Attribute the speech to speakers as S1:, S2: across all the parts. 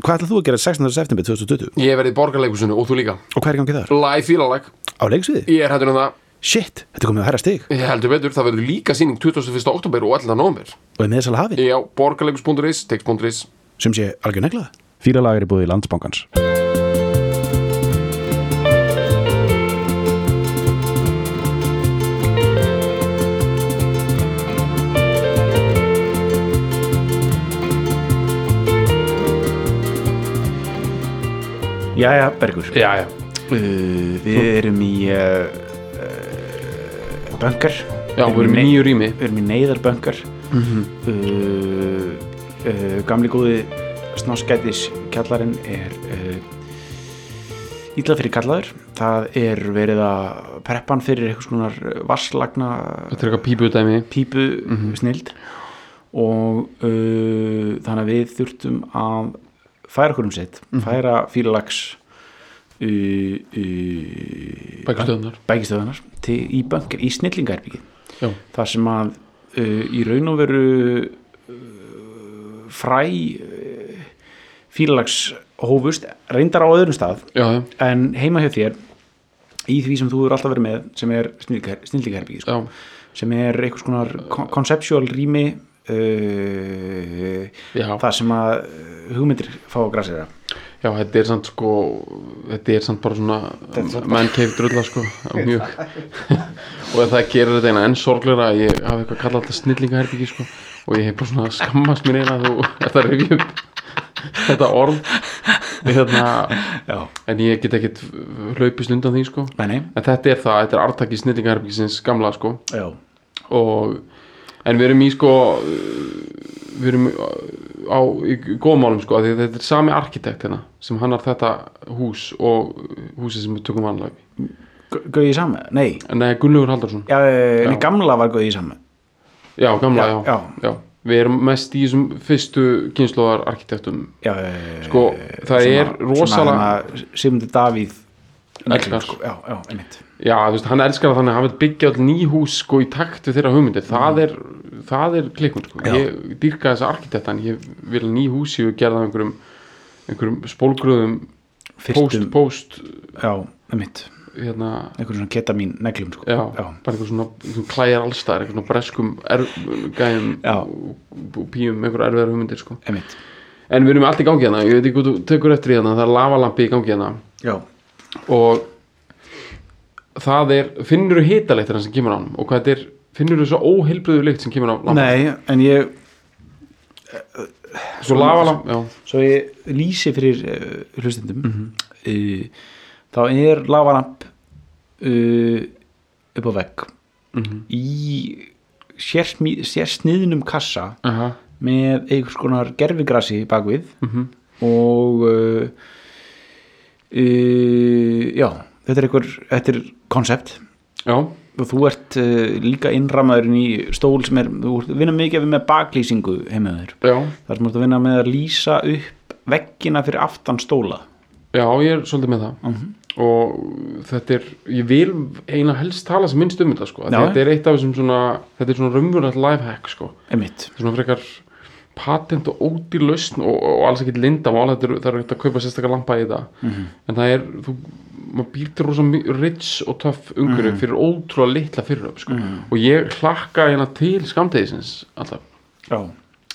S1: Hvað ætlað þú að gera 16. september 2020?
S2: Ég verði í borgarleikusinu og þú líka
S1: Og hvað er í gangi þar?
S2: Live fílalag,
S1: Á leiksviði?
S2: ég er hættur um það
S1: Shit, þetta er komið að herra stig
S2: Ég heldur betur, það verður líka síning 21. oktober og 11. november
S1: og er meðsala hafið
S2: Já, borgarleikus.is, text.is
S1: sem sé algjör neglað
S3: Fýra lagar í búði landsbankans Jæja, Bergur
S2: Já, já,
S3: Uh, við erum í uh, uh, böngar
S2: já, við erum í Mhm.
S3: nei-
S2: nýju rými
S3: við erum í neyðarböngar uh, uh, gamli góði snáskætis kjallarinn er uh, ítla fyrir kallaður það er verið að preppan fyrir uh, eitthvað svona vasslagna
S2: Þetta er eitthvað pípudæmi
S3: pípu snild og uh, þannig að við þurftum að færa okkur um sitt færa fílalags uh, uh,
S2: Bækastöðunar
S3: bækistöðunar til, í bönkar, í snillingarbyggið
S2: Já,
S3: þar sem að uh, í raun og veru uh, fræ uh, fílalags hófust reyndar á öðrum stað
S2: já, já,
S3: en heima hjá þér í því sem þú eru alltaf verið með sem er snillíkherbyggis
S2: já,
S3: sko, sem er einhvers konar kon- conceptual rými uh,
S2: Já.
S3: þar sem að uh, hugmyndir fá að græsera
S2: já, þetta er samt sko Þetta er samt bara svona menn keif drulla sko Mjög Og það gerir þetta eina enn sorgleira að Ég hafi eitthvað kallað þetta snillingaherbyggi sko Og ég hef bara svona skammast mér eina Þú þetta rifjum Þetta orð Þetta
S3: Já,
S2: En ég get ekkert hlaupist undan því sko
S3: nei, nei,
S2: En þetta er það, þetta er artaki snillingarherbyggisins gamla sko
S3: já
S2: og en við erum í sko uh, við erum á, á í góðum málum sko af því að þetta er sami arkitekt hérna sem hannar þetta hús og húsið sem við tökum vanlega upp.
S3: Gau- Gauði í saman, nei,
S2: en það er Gunnlaugur Haldarsson
S3: já, já. nei
S2: Já.
S3: gamla var gauði í saman
S2: já, gamla,
S3: Já,
S2: já, já. við erum mest í þessum fyrstu kynnslóðar arkitektum
S3: já, eh, já,
S2: sko, það er rosalega
S3: hérna Sigmundur Davíð
S2: Elskar.
S3: sko, já, já, einmitt
S2: já, þú veist, hann elskar það þannig að hann vil byggja all ný hús sko í takt við þeirra hugmyndir það er, það er klikkun sko.
S3: Mm. Já.
S2: ég dýrka þessa arkitektan ég vil að ný hús séu gerða einhverjum einhverjum spólgröðum
S3: Fyrstum,
S2: post, post
S3: já, einmitt
S2: hérna,
S3: einhvern svona ketamín neglum sko.
S2: já,
S3: já,
S2: bara einhver svona, einhver klæjar allstaðar, einhver svona breskum er, gæjum
S3: Já.
S2: og og píum einhver erfiðar hugmyndir sko.
S3: einmitt
S2: en við erum með allt í gangi hérna, ég veit ekki hvað þú tekur eftir í hérna það er lavalampi í gangi hérna
S3: já,
S2: og það er, finnur þú hitalegtina sem kemur á hann og hvað þetta er, finnur þú svo óheilbröðu lykt sem kemur á lampan,
S3: nei, en ég
S2: svo lavalamp já,
S3: svo ég lýsi fyrir uh, hlustendum uh, þá er lavalamp uh, upp á vegg í sérsmi- sérsniðnum kassa
S2: aha,
S3: með einhvers konar gerfigrasi bakvið
S2: mhm
S3: og uh, uh, já, þetta er einhver þetta er konsept
S2: já,
S3: og þú ert uh, líka innramaðurinn í stól sem er, þú ert að vinna mikið með baklýsingu heimaður
S2: já,
S3: þar sem þú ert að vinna með að lýsa upp veggina fyrir aftan stóla
S2: já, ég er svolítið með það
S3: Mhm.
S2: og þetta er ég vil eina helst tala sem minnst um þetta sko.
S3: Já.
S2: þetta er eitt af þessum svona þetta er svona raunverulegt lifehack sko.
S3: einmitt,
S2: þetta er svona frekar patent og ódýr lausn og, og alls ekkert lindamál þetta er, það er ekkert að kaupa sérstakar lampa í þetta
S3: Mhm.
S2: en það er, þú, maður býr til rosa mi- rich og töff umhverju
S3: Mhm.
S2: fyrir ótrúlega litla fyriröf sko. og ég hlakka hérna til skamtegisins alltaf,
S3: já,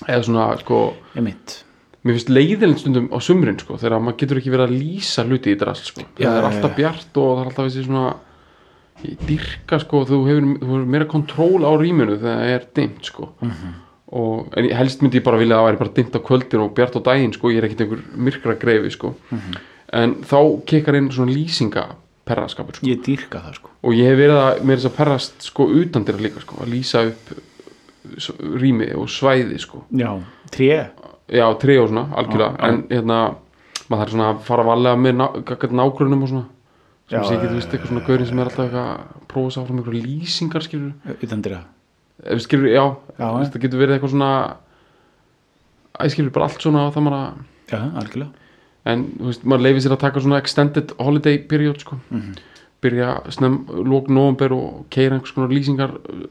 S2: eða svona sko,
S3: einmitt
S2: mér finnst leiðilegt stundum á sumrin sko, þegar maður getur ekki verið að lýsa hluti í drast sko.
S3: Já,
S2: það er
S3: já,
S2: alltaf
S3: já.
S2: bjart og það er alltaf þessi svona ég dyrka sko, þú hefur, þú hefur meira kontról á rýminu þegar það er dimmt sko.
S3: Mhm.
S2: og, en ég- helst myndi ég bara vilja að það væri bara dimmt á kvöldin og bjart á daginn sko, ég er ekkit einhver myrkra greifi sko.
S3: Mhm.
S2: en þá kekar inn svona lýsinga perraskapur sko.
S3: ég dýrka það sko
S2: og ég hef verið að meira þess að perrast sko, utan dyrra líka, sko, að lýsa upp s- rými og svæði sko
S3: já, tré,
S2: já, trí og svona,
S3: Já,
S2: algjörlega
S3: já.
S2: en hérna, maður þarf svona að fara varlega með ná, gagnvart nágrunum og svona sem
S3: Já,
S2: sé ekki,
S3: já,
S2: þú veist, eitthvað svona gaurin sem er alltaf eitthvað að prófa sá fram einhverju lýsingar skilur,
S3: utan dyrra
S2: ef skilur, já,
S3: Já,
S2: þú veist, það getur verið eitthvað svona æ, skilur, bara allt svona það maður að,
S3: já, algjörlega
S2: en, þú veist, maður leifir sér að taka svona extended holiday period, sko
S3: Mhm.
S2: byrja snem, lók nóvumber og keira einhvers konar lýsingar uh,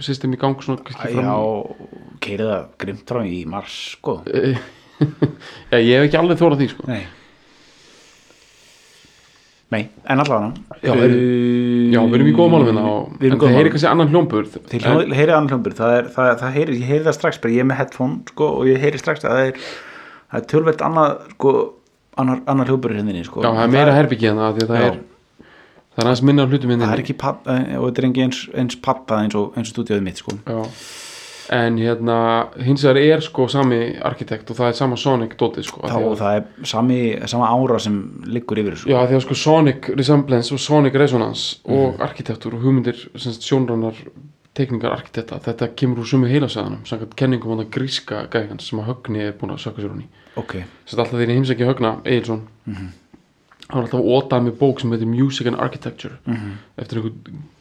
S2: system í gang svona, kannski
S3: já, keiri það grimt frá í mars sko
S2: Eh, Já, ég hef ekki alveg þórað því sko
S3: Nei Nei, en allavega Eh,
S2: Já, erum- Já, við erum í góðum málum hérna og-
S3: Við erum
S2: En
S3: góðum
S2: það heyri
S3: málum
S2: kannski annan hljómburð
S3: Þið hljóð- heyrið annan hljómbur, það er, það, það heyri, ég heyri það strax, bara ég er með headphone sko, og ég heyri strax að það er, það er tölvöld annað, sko, annar, annar hljómbur hérna, sko.
S2: Já, það er meira herbyggið hérna af því að það
S3: Já.
S2: er Það er aðeins minna af hlutum
S3: það er
S2: hérna
S3: ekki papp, eh, og þetta er ekki eins, eins pappa eins og, eins og stúdíóið mitt, sko.
S2: Já En hérna, hins vegar er sko sami arkitekt og það er sama Sonic dótið sko af
S3: Þá,
S2: því að-
S3: og það er sami, sama ára sem liggur yfir, sko.
S2: Já, því að sko Sonic Resemblance og Sonic Resonance
S3: Mhm.
S2: og arkitektur og hugmyndir semst sjónrannar tekningar arkitekta, þetta kemur úr sumu heilasæðanum samkvæmt kenningum hann að gríska gæðans sem að Högni er búin að sökka sér hún í
S3: Ok,
S2: Sett alltaf þeirri heimsæki Högna Egilson hann er alltaf ótað með bók sem heitir Music and Architecture eftir einhver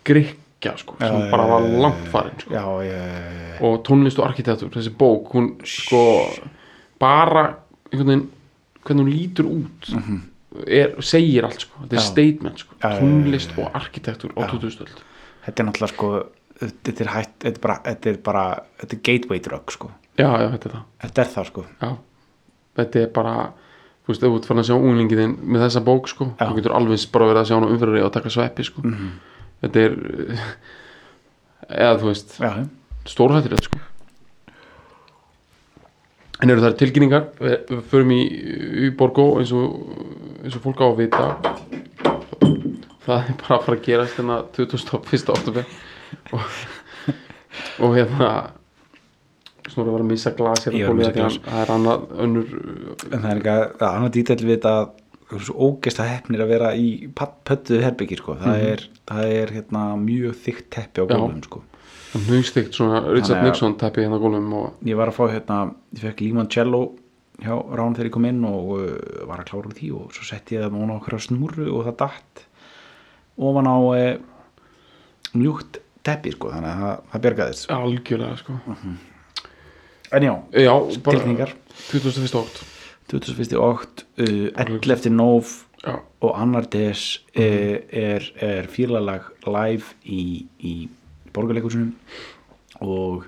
S2: gríkja sko, sem
S3: já,
S2: bara
S3: já,
S2: var
S3: já, já,
S2: langt farinn sko.
S3: já, ég,
S2: og tónlist og arkitektur, þessi bók hún sko bara einhvern veginn, hvernig hún lítur út er, segir allt sko, þetta er
S3: Já.
S2: statement sko,
S3: Já, já, já, já, já.
S2: tónlist og arkitektur á 2000
S3: þetta er náttúrulega, sko, þetta er hætt, þetta er bara, þetta er bara, þetta er gateway drug, sko.
S2: já, já, þetta er það
S3: Þetta er það, sko.
S2: já. þetta er bara þú veist, ef þú ert farin að sjá unglingið þinn með þessa bók sko,
S3: Já.
S2: þú getur alveg bara verið að sjá hann á umfyrir og taka sveppi sko þetta er eða þú veist,
S3: Já, já.
S2: stórhættilegt sko en eru það tilkynningar við, við förum í, í Borgó eins og, eins og fólk á að vita það er bara að fara að gerast hérna 21. oktober og, og hérna snúru var að missa glas
S3: Ég var
S2: hérna
S3: að
S2: komið
S3: missa
S2: að
S3: glas.
S2: hann, það er annað önnur
S3: en það er ekki að það er annað dítill við þetta að þú eru svo ógeist að hefnir að vera í patt- pöttuðu herbyggi sko. það, er, það er hérna mjög þykkt teppi á
S2: Mhm. Já.
S3: gólfum sko.
S2: hnugstikt uh, svona Richard
S3: Þannig að-
S2: Nixon teppi hérna á gólfum og
S3: ég var að fá hérna, ég fekk limoncello hjá Rán þegar ég kom inn og uh, var að klára úr því og svo setti ég það núna okkur á snúru og það datt ofan á uh, mjúkt teppi sko, þannig að það, það bergaðist
S2: algjörlega sko
S3: en já,
S2: já, bara
S3: tilningar
S2: 21. okt
S3: 2001. ótt, uh, 11. nóf
S2: já,
S3: og annar des eh, er, er fílalag live í, í borgarleikusunum og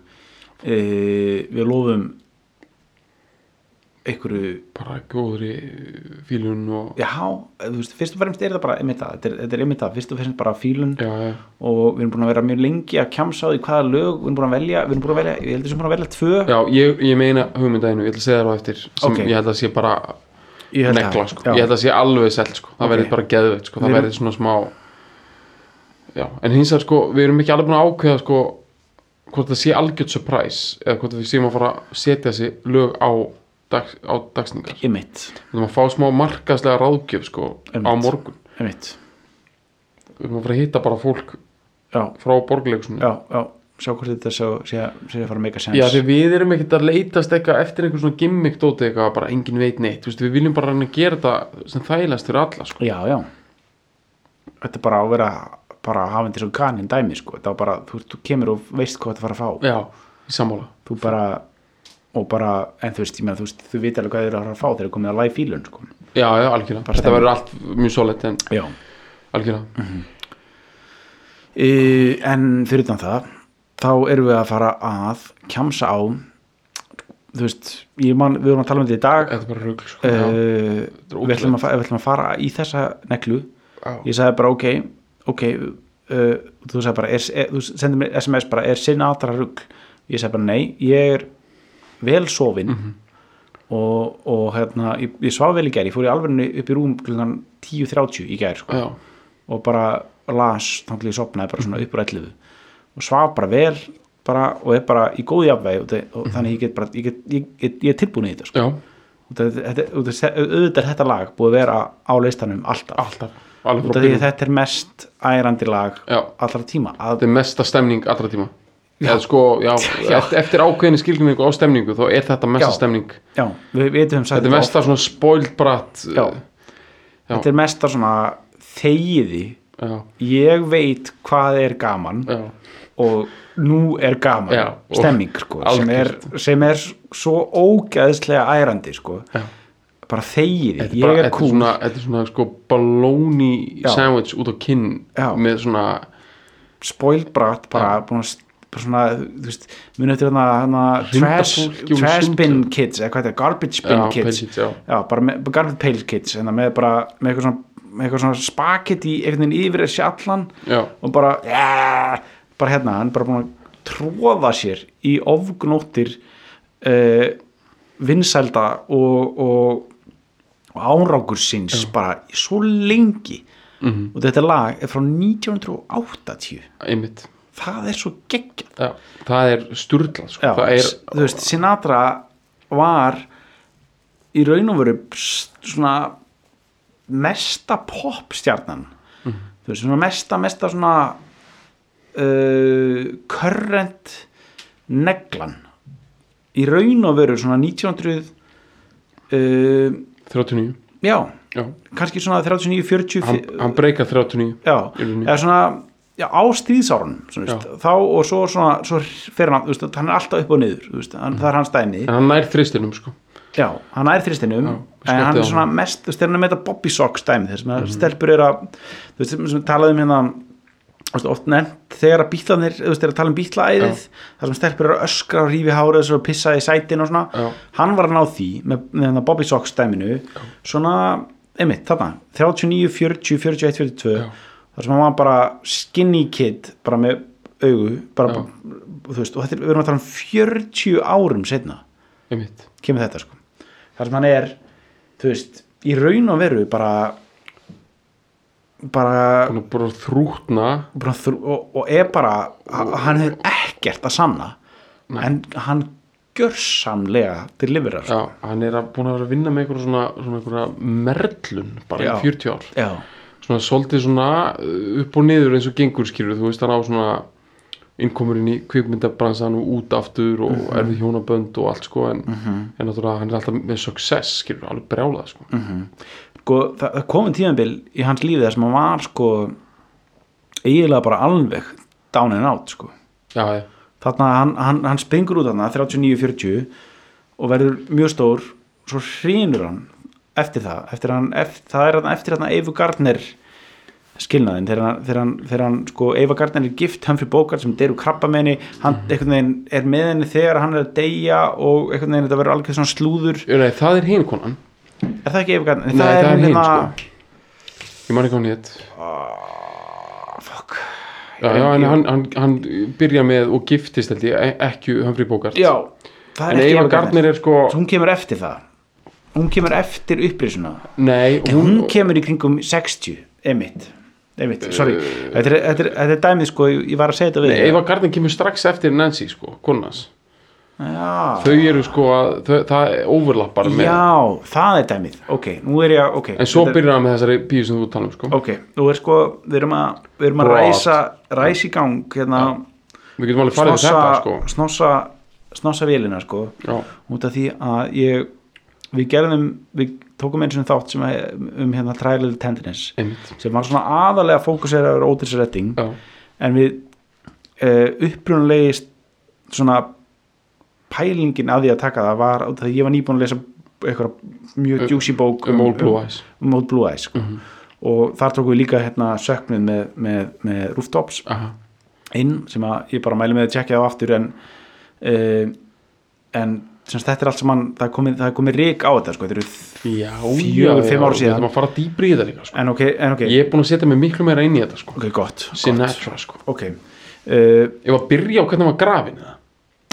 S3: e, við lofum einhverju
S2: bara góðri fílun og
S3: já, þú veist, fyrst og fremst er það bara einmitt það, þetta er- þetta er einmitt það, fyrst og fremst bara fílun
S2: já, já,
S3: og við erum búin að vera mjög lengi að kjamsa á því hvaða lög, við erum búin að velja við erum búin að velja, ég heldur sem búin að velja tvö
S2: Já, ég, ég meina hugmyndaðinu, ég ætla að segja það á eftir sem
S3: Ok.
S2: ég held að sé bara
S3: Ég held
S2: nekla,
S3: það,
S2: sko.
S3: já.
S2: ég held að sé alveg selt sko. það
S3: Ok.
S2: verði bara geðveitt, sko.
S3: Við
S2: það
S3: erum-
S2: verði svona smá já, en hins vegar sko, við erum ekki alveg búin að ákveða sko, hvort það sé algjörð surprise eða hvort við séum að fara að setja þessi lög á, dag, á dagsningar
S3: einmitt,
S2: við erum að fá smá markaslega ráðgjöf sko, á
S3: Einmitt.
S2: morgun,
S3: einmitt
S2: við erum að fara að hitta bara fólk
S3: já,
S2: frá borgarleiksunni
S3: já, já, sjá hvort þetta sé sé sé að fara að make a sense
S2: Já, því við erum ekkert að leitast eitthvað eftir einhver svona gimmick dóti eitthvað, bara engin veit neitt, þú veist, við viljum bara reyna að gera þetta sem þægilegast fyrir alla, sko.
S3: Já, já Þetta er bara að vera bara að hafa þetta svo kanin dæmi sko. þetta var bara, þú, þú kemur og veist hvað þetta fara að fá
S2: Já, í sammála.
S3: þú bara, og bara en þú veist, ég meina, þú veist, þú veit alveg hvað þeir eru að fara að fá þegar þeir eru komið að live fílun sko.
S2: Já, já, algjörlega.
S3: Bara
S2: þetta
S3: stemning. Mm.
S2: verður allt mjög solid, en
S3: Já
S2: algjörlega.
S3: E, En fyrir utan það þá erum við að fara að kjamsa á þú veist, ég man, við vorum að tala um þetta í dag
S2: Þetta er bara rugl, sko.
S3: uh,
S2: já, er
S3: við, ætlum að, fa- við ætlum að fara í þessa neglu
S2: já.
S3: ég sagði bara ok ok, uh, þú sagði bara er, er, þú sendir mér sms bara, er Sinatra rugg ég sagði bara nei, ég er vel sofin og, og hérna, ég, ég svaf vel í gær ég fór í alveg upp í rúm klukkan 10.30 í gær sko,
S2: Já,
S3: og bara las þá til ég sopnaði bara svona upp úr 11 og svaf bara vel bara, og er bara í góði afveg og, þe- og þannig ég get bara, ég, get, ég, ég, ég er tilbúin í þetta sko.
S2: já,
S3: Og þetta, þetta, þetta, auðvitað er þetta lag búið að vera á listanum alltaf
S2: alltaf. Alveg
S3: Út
S2: frá
S3: af því
S2: byrjun.
S3: að þetta er mest ærandi lag
S2: Já.
S3: allra tíma að,
S2: Þetta er mesta stemning allra tíma. Eða sko, já, eft- eftir ákveðinni skilgjöningu á stemningu, þá er þetta mesta
S3: Já.
S2: stemning.
S3: já, við veitum
S2: Þetta er mesta svona spoilt bratt.
S3: já,
S2: Já.
S3: þetta er mesta svona þegiði
S2: Já,
S3: ég veit hvað er gaman
S2: eh, já,
S3: og nú er gaman
S2: Já, og
S3: stemming sko, sem, er,
S2: algjört.
S3: sem er svo ógæðslega ærandi sko.
S2: já.
S3: bara þegiði,
S2: Þetta
S3: ég
S2: bara-
S3: er
S2: þetta
S3: kúl
S2: svona, Þetta er svona sko balóni
S3: Já.
S2: sandwich út á kinn
S3: Já.
S2: með svona
S3: spoilbrat bara búin að bara svona, þú veist, muni eftir hana, hana trash,
S2: Hundafólki úr
S3: trash bin
S2: sundlaug.
S3: kids, eða hvað þetta er, garbage bin
S2: Já,
S3: kids
S2: Pale Kids, já.
S3: bara með, bara garbage pale kids hérna, með bara, með eitthvað svona, með eitthvað svona spaket í einhvern veginn yfir þessi allan
S2: Já.
S3: og bara, yeah, bara hérna hann er bara búin að tróða sér í ofgnóttir uh, vinsælda og, og, og árangur síns bara svo lengi -hmm. og þetta lag er frá 1980
S2: einmitt
S3: það er svo geggjað
S2: já. það er sturglað sko.
S3: Já,
S2: það er
S3: s- þú veist, Sinatra var í raun og veru s- svona mesta popstjarnan
S2: Mhm.
S3: þú veist, svona mesta, mesta svona uh, current neglan í raun og veru svona 1900 uh,
S2: 39
S3: já,
S2: já.
S3: kannski svona 39, 40
S2: hann, hann breykar 39
S3: já,
S2: Í rauninni.
S3: eða svona já, á stríðsárunum svona, veist, þá og svo, svona, svo fer hann þú veist, hann er alltaf upp og niður þú veist,
S2: Mhm.
S3: hann, það er hans dæmi
S2: en hann nær þristinum sko.
S3: já, hann er þristinum en
S2: skottið á
S3: hann er
S2: honum. Mhm.
S3: svona mest, þú veist, þegar hann er með þetta Bobby Socks dæmi þess að stelpur eru að þú veist, sem, sem talaði um hérna þú veist, oft nefnt þegar að bítlanir þú veist, þegar að tala um bítlaæðið þar sem stelpur eru að öskra og rífi hárið þessu og pissa í sætin og svona,
S2: Já.
S3: hann var að ná því með, með hérna Bobby Socks dæminu svona, einmitt, þarna 39, 40, 41, 42 þar sem hann var bara skinny kid bara með augu bara, þú veist, og þetta er, við erum að tala um 40 árum setna
S2: einmitt
S3: kemur þetta sko þar sem hann er, þú veist í raun og veru bara bara
S2: hann er bara að þrútna
S3: bara þrú, og, og er bara h- hann hefur ekkert að sanna en hann gjörsamlega til lifir
S2: já, hann er að, búin að vera að vinna með einhverja svona, svona einhverja merlun bara
S3: Já.
S2: í 40 ár
S3: já,
S2: svona svolítið svona uh, upp og niður eins og gengur skilur þú veist hann á svona innkomurinn í kvikmyndabransan og út aftur og erfið hjónabönd og allt sko en, en náttúrulega hann er alltaf með success skilur alveg brjálað sko
S3: sko, það, það komið tíðanbil í hans lífi þar sem hann var sko eiginlega bara alveg down and out sko
S2: já, já,
S3: þarna hann, hann, hann springur út þarna 39-40 og verður mjög stór svo hrýnur hann eftir það eftir hann, eftir, það er hann eftir hann Eifu Gardner skilnaðin þegar hann, þegar hann, þegar hann sko, Eifa Gardner er gift Humphrey Bogart sem deyr úr krabbamenni hann
S2: Mhm.
S3: einhvern veginn er með henni þegar hann er að deyja og einhvern veginn þetta verður algjör svona slúður
S2: Ég, nei, það er hinn konan
S3: er það ekki Eifa Gardner?
S2: Nei, það er
S3: hún
S2: hin, sko.
S3: hérna-
S2: ég man ekki hvað hann hétt
S3: fuck
S2: já, já, en hann, hann, hann byrja með og giftist held ég, e- ekki Humphrey Bogart
S3: já, það
S2: en
S3: er ekki Eifa
S2: Eva
S3: Gardner
S2: Gardner er sko
S3: hún kemur eftir það hún kemur eftir upprisuna
S2: nei,
S3: hún
S2: hún,
S3: kemur í kringum 60 emitt, emitt, sorry þetta er, þetta, er, þetta er dæmið sko, ég var að segja þetta við
S2: Eh. nei, Eva Gardner kemur strax eftir Nancy sko, konans
S3: já,
S2: þau eru sko að, þau, það overlappar með
S3: já, það er dæmið ok, nú er ég að, ok
S2: En svo
S3: þetta er-
S2: byrjar hann með þessari píu sem þú tala um sko.
S3: ok, nú er sko, við erum að við erum að
S2: Brot.
S3: ræsa, ræsa í gang hérna,
S2: Við getum alveg farið í
S3: snossa,
S2: þetta sko.
S3: snossa snossa vélina sko
S2: Já,
S3: út af því að ég við gerðum, við tókum eins og þátt sem að, um hérna Trial Tenderness
S2: einmitt
S3: sem var svona aðalega fókuseraður Otis Redding
S2: Já,
S3: en við uh, upprunalegi st- svona pælingin að því að taka það var út af því að ég var nýbúin að lesa eitthvað mjög djúsi bók
S2: um Mhm. Old Blue Eyes
S3: um Old Blue Eyes sko. og þar tókum við líka hérna söknuð með, með, með rooftops
S2: Aha.
S3: inn sem að ég bara mæli með að tjekka á aftur en uh, en sem sagt, þetta er allt sem hann það er komið, það er komið rík á þetta sko. þetta eru,
S2: Já,
S3: Fjögur, fimm ár
S2: Við
S3: síðan.
S2: ætlum að fara dýbri í þetta líka sko.
S3: en ok, en ok
S2: Ég er búin að setja mig miklu meira inn í þetta sko.
S3: ok, gott, gott.
S2: Sinatra sko.
S3: ok, uh,
S2: Ég var að byrja á hvernig hann var grafin eða?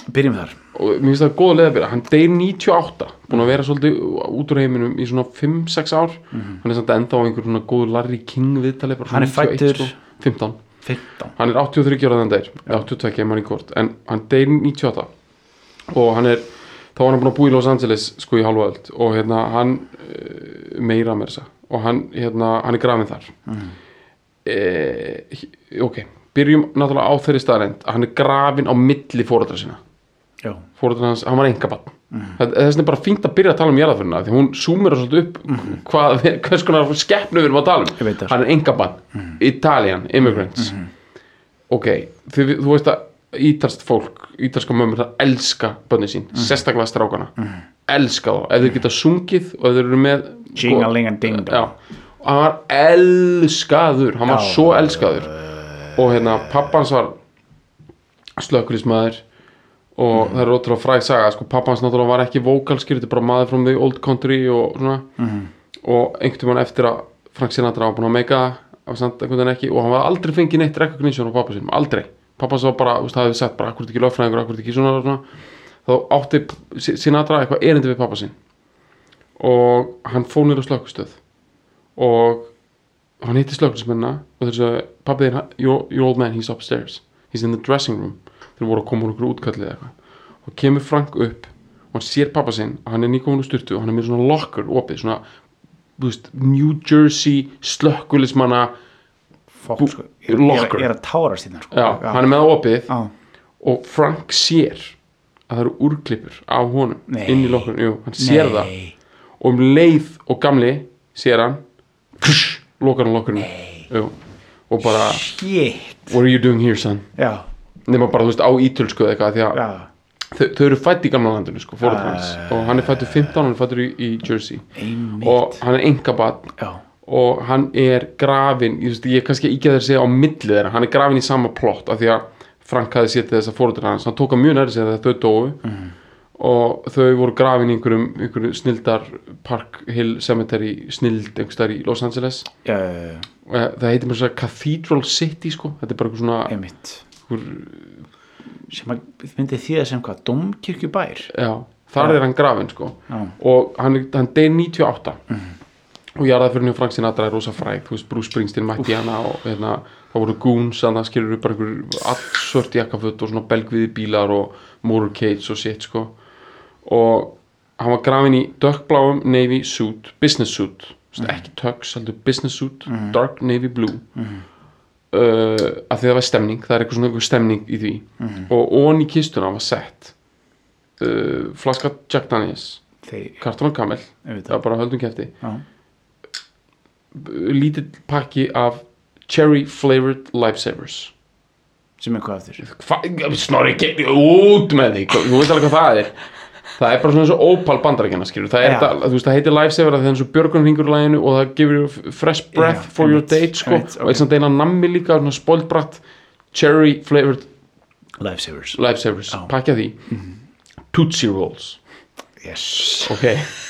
S3: byrjum þar
S2: og mér finnst það góða leið að byrja hann deyr 98, búin að vera svolítið út úr heiminum í svona 5-6 ár hann er samt enda á einhver svona góð Larry King viðtalið, bara
S3: Mhm. Hann er
S2: svona 91,
S3: fæddur-
S2: sko. 15
S3: 15
S2: hann er 83 ára þann dagir 82 ef maður í kort, en hann deyr 98 og hann er þá var hann búin að búa í Los Angeles sko í halva öld og hérna hann eh, meira að mér þess og hann, hérna, hann er grafin þar eh, ok byrjum náttúrulega á þeirri staðarend hann er grafin á milli fóreldra sína
S3: já,
S2: fóreldra hans, hann var engabann mm. þess er bara fínt að byrja að tala um jarðaförina því hún súmir svolítið upp hvað, hvers konar skeppnu við erum að tala
S3: Ég
S2: um
S3: veit það.
S2: hann er engabann, Italian immigrants ok, þú, þú veist að ítalst fólk ítalska mömmur það elska bönni sín sérstaklega strákana, elska þá ef þeir geta sungið og ef þeir eru með
S3: Jingalingading.
S2: Sko, Já. og hann var elskaður hann var
S3: Já.
S2: svo elskaður og hérna pappans var slökulismæður og það er ótrúlega fræg saga sko, pappans náttúrulega var ekki vókalskýr þetta er bara maður from the old country og svona og einhvern tímann eftir að Frank Sinatra var búin að meika það, það var samt einhvern veginn ekki og hann var aldrei fengið neitt recognition á pappa sinum, aldrei pappans var bara, þú veist, það hefði sett bara akkur ekki lögfræðingur, akkur ekki svona, svona þá átti Sin- Sinatra eitthvað erindi við pappa sin og hann fór nýra slökkustöð og hann hitti slökkulismennina og þeir sagði, pappi þinn, your, your old man, he's upstairs he's in the dressing room þeir voru að koma úr okkur útkallið eða eitthvað og kemur Frank upp og hann sér pappa sinn að hann er nýkomin úr styrtu og hann er með svona locker opið, svona þú veist, New Jersey slökkulismanna
S3: Fokk,
S2: Bú-
S3: sko, ég, er- ég,
S2: locker.
S3: er- ég er að tára síðan sko.
S2: já, hann er með það opið
S3: á,
S2: og Frank sér að það eru úrklippur af honum
S3: Nei.
S2: inn í lokkurinn, jú, hann sér það
S3: Nei,
S2: og um leið og gamli sér hann krush, lokar hann lokkurinn jú, og bara,
S3: shit
S2: what are you doing here son
S3: já,
S2: nema bara, þú veist, á ítölsku eða eitthvað því að
S3: já, Ah,
S2: þau, þau eru fætt í gamla landinu sko, fóruð hans og hann er fættur 15, hann er fættur í, í Jersey
S3: einmitt
S2: og hann er engabann
S3: já,
S2: og hann er grafin ég, veist, ég kannski ekki að þeir segja á milli þeirra hann er grafin í sama plott af því að Frank hafði setið þess að fóröldur hans hann tók að mjög nærið sér þegar þau dóu
S3: Mhm.
S2: og þau voru grafin í einhverjum, einhverjum snildar Park Hill Cemetery snild einhverstaðar í Los Angeles
S3: já, já, já,
S2: Og, eh, það heitir mér svo Cathedral City sko. þetta er bara einhver svona
S3: einmitt
S2: einhver,
S3: sem að myndi því að sem hvað domkirkjubær
S2: já, þar er hann grafin sko.
S3: já,
S2: og hann, er- hann deyr 98 og jarðaförinu Frank Sinatra er rosa fræg þú veist Bruce Springsteen mætti í hana og hérna, það voru goons þannig að skilur upp bara einhver allsvört jakkaföt og svona belgviði bílar og motorcades og shit sko og hann var grafin í dökkbláum navy suit, business suit Þú veist, ekki tux, heldur business suit dark navy blue uh, af því það var stemning það er eitthvað svona eitthvað stemning í því og ofan í kistuna var sett uh, flaska Jack Daniels
S3: þeir,
S2: kartón og kamel,
S3: ég veit
S2: það var bara höldum kæfti
S3: já,
S2: lítill pakki af cherry flavored lifesavers
S3: sem er hvað aftur
S2: hvað, snorri, get út með því Hvað- þú veist alveg hvað það er það er bara svona eins og opal bandarækina skilur það, er
S3: Já.
S2: það, þú veist, það heitir lifesaver af því það er eins og björgunringur læginu og það gefur you fresh breath
S3: Já,
S2: for your
S3: einmitt,
S2: date sko,
S3: einmitt,
S2: og
S3: ok.
S2: eins og eina nammi líka svona spoilbratt cherry flavored
S3: Lifesavers
S2: lifesavers,
S3: Já. Mhm.
S2: pakki af því Tootsie Rolls
S3: yes.
S2: ok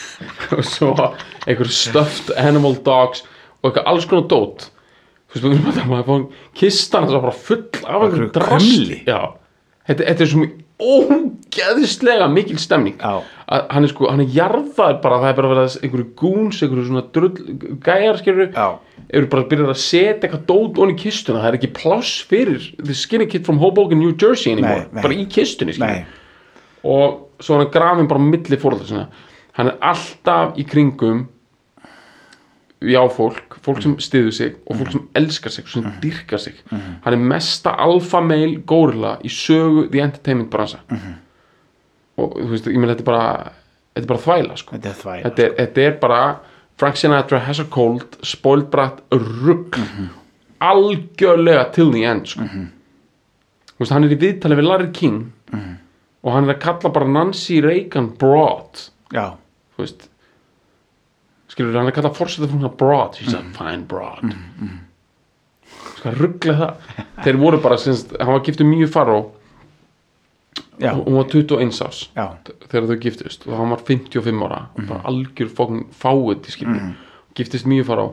S2: og svo einhver stuffed animal dogs og eitthvað alls konar dót þú veist, þú veist, maður fóðum kistan þess að bara full af einhverju
S3: einhverju
S2: drasli
S3: krumli.
S2: já, þetta, þetta er svo ógeðislega mikil stemning
S3: Já.
S2: að hann er sko, hann er jarðaður bara það er bara verið að einhverju gúns, einhverju svona drull, gæjar skilur
S3: Já.
S2: eru bara að byrja að setja eitthvað dót onni í kistuna, það er ekki pláss fyrir the skinny kid from Hoboken, New Jersey anymore,
S3: Nei, nei.
S2: bara í kistunni skilur
S3: nei,
S2: og svo er hann grafin bara á milli fóröldra sinna hann er alltaf í kringum já fólk fólk sem stiður sig og fólk sem elskar sig sem dyrkar sig hann er mesta alfa meil górila í sögu the entertainment bransa og þú veist, ég meina þetta er bara þetta er bara þvæla sko
S3: þetta er þvæl
S2: þetta er, þetta er bara Frank Sinatra has a cold spoiled brat rugg algjörlega till the end sko. þú veist hann er í viðtali við Larry King og hann er að kalla bara Nancy Reagan broad
S3: já,
S2: þú veist skilur hann er að kalla fórsetið fyrir hún broad she's a fine broad mm -hmm. sko ruggla það þeir voru bara, sinst, hann var giftið mjög faró
S3: já,
S2: hún var 21 árs
S3: já,
S2: þegar þau giftist og hann var 55 ára og bara algjör fókn fáið í skilni, giftist mjög fara á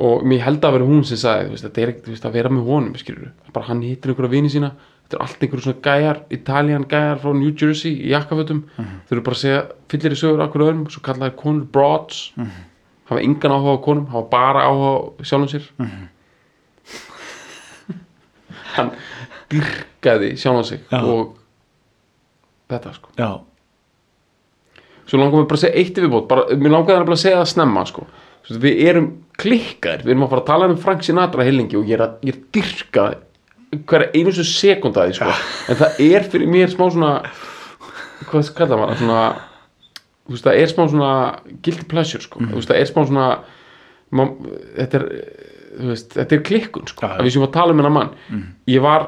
S2: og mér held að vera hún sem sagði þú veist, þetta er ekkert þú veist, að vera með honum skilur. bara hann hittir einhverja vini sína þetta er allt einhverjum svona gæjar, Italian gæjar frá New Jersey í jakkafötum þau eru bara að segja, fyllir í sögur akkur öðrum svo kallaði konur broads hafa engan áhuga á konum, hafa bara áhuga á sjálfum sér hann dyrkaði sjálfum sig
S3: Já.
S2: og þetta sko
S3: já,
S2: svo langar mér bara að segja eitt í viðbót bara, mér langar það að segja það snemma sko. Svo við erum klikkaðir, við erum að fara að tala um Frank Sinatra heilingi og ég er að ég er dyrka hverja einustu sekunda því
S3: Ah.
S2: sko. en það er fyrir mér smá svona hvað kallar maður það? svona, þú veist, það er smá svona guilty pleasure sko.
S3: Mhm.
S2: mm. veist, það er smá svona má, þetta er þú veist, þetta er klikkun sko,
S3: Já, Mhm. já.
S2: að við séum að tala um hennar mann ég var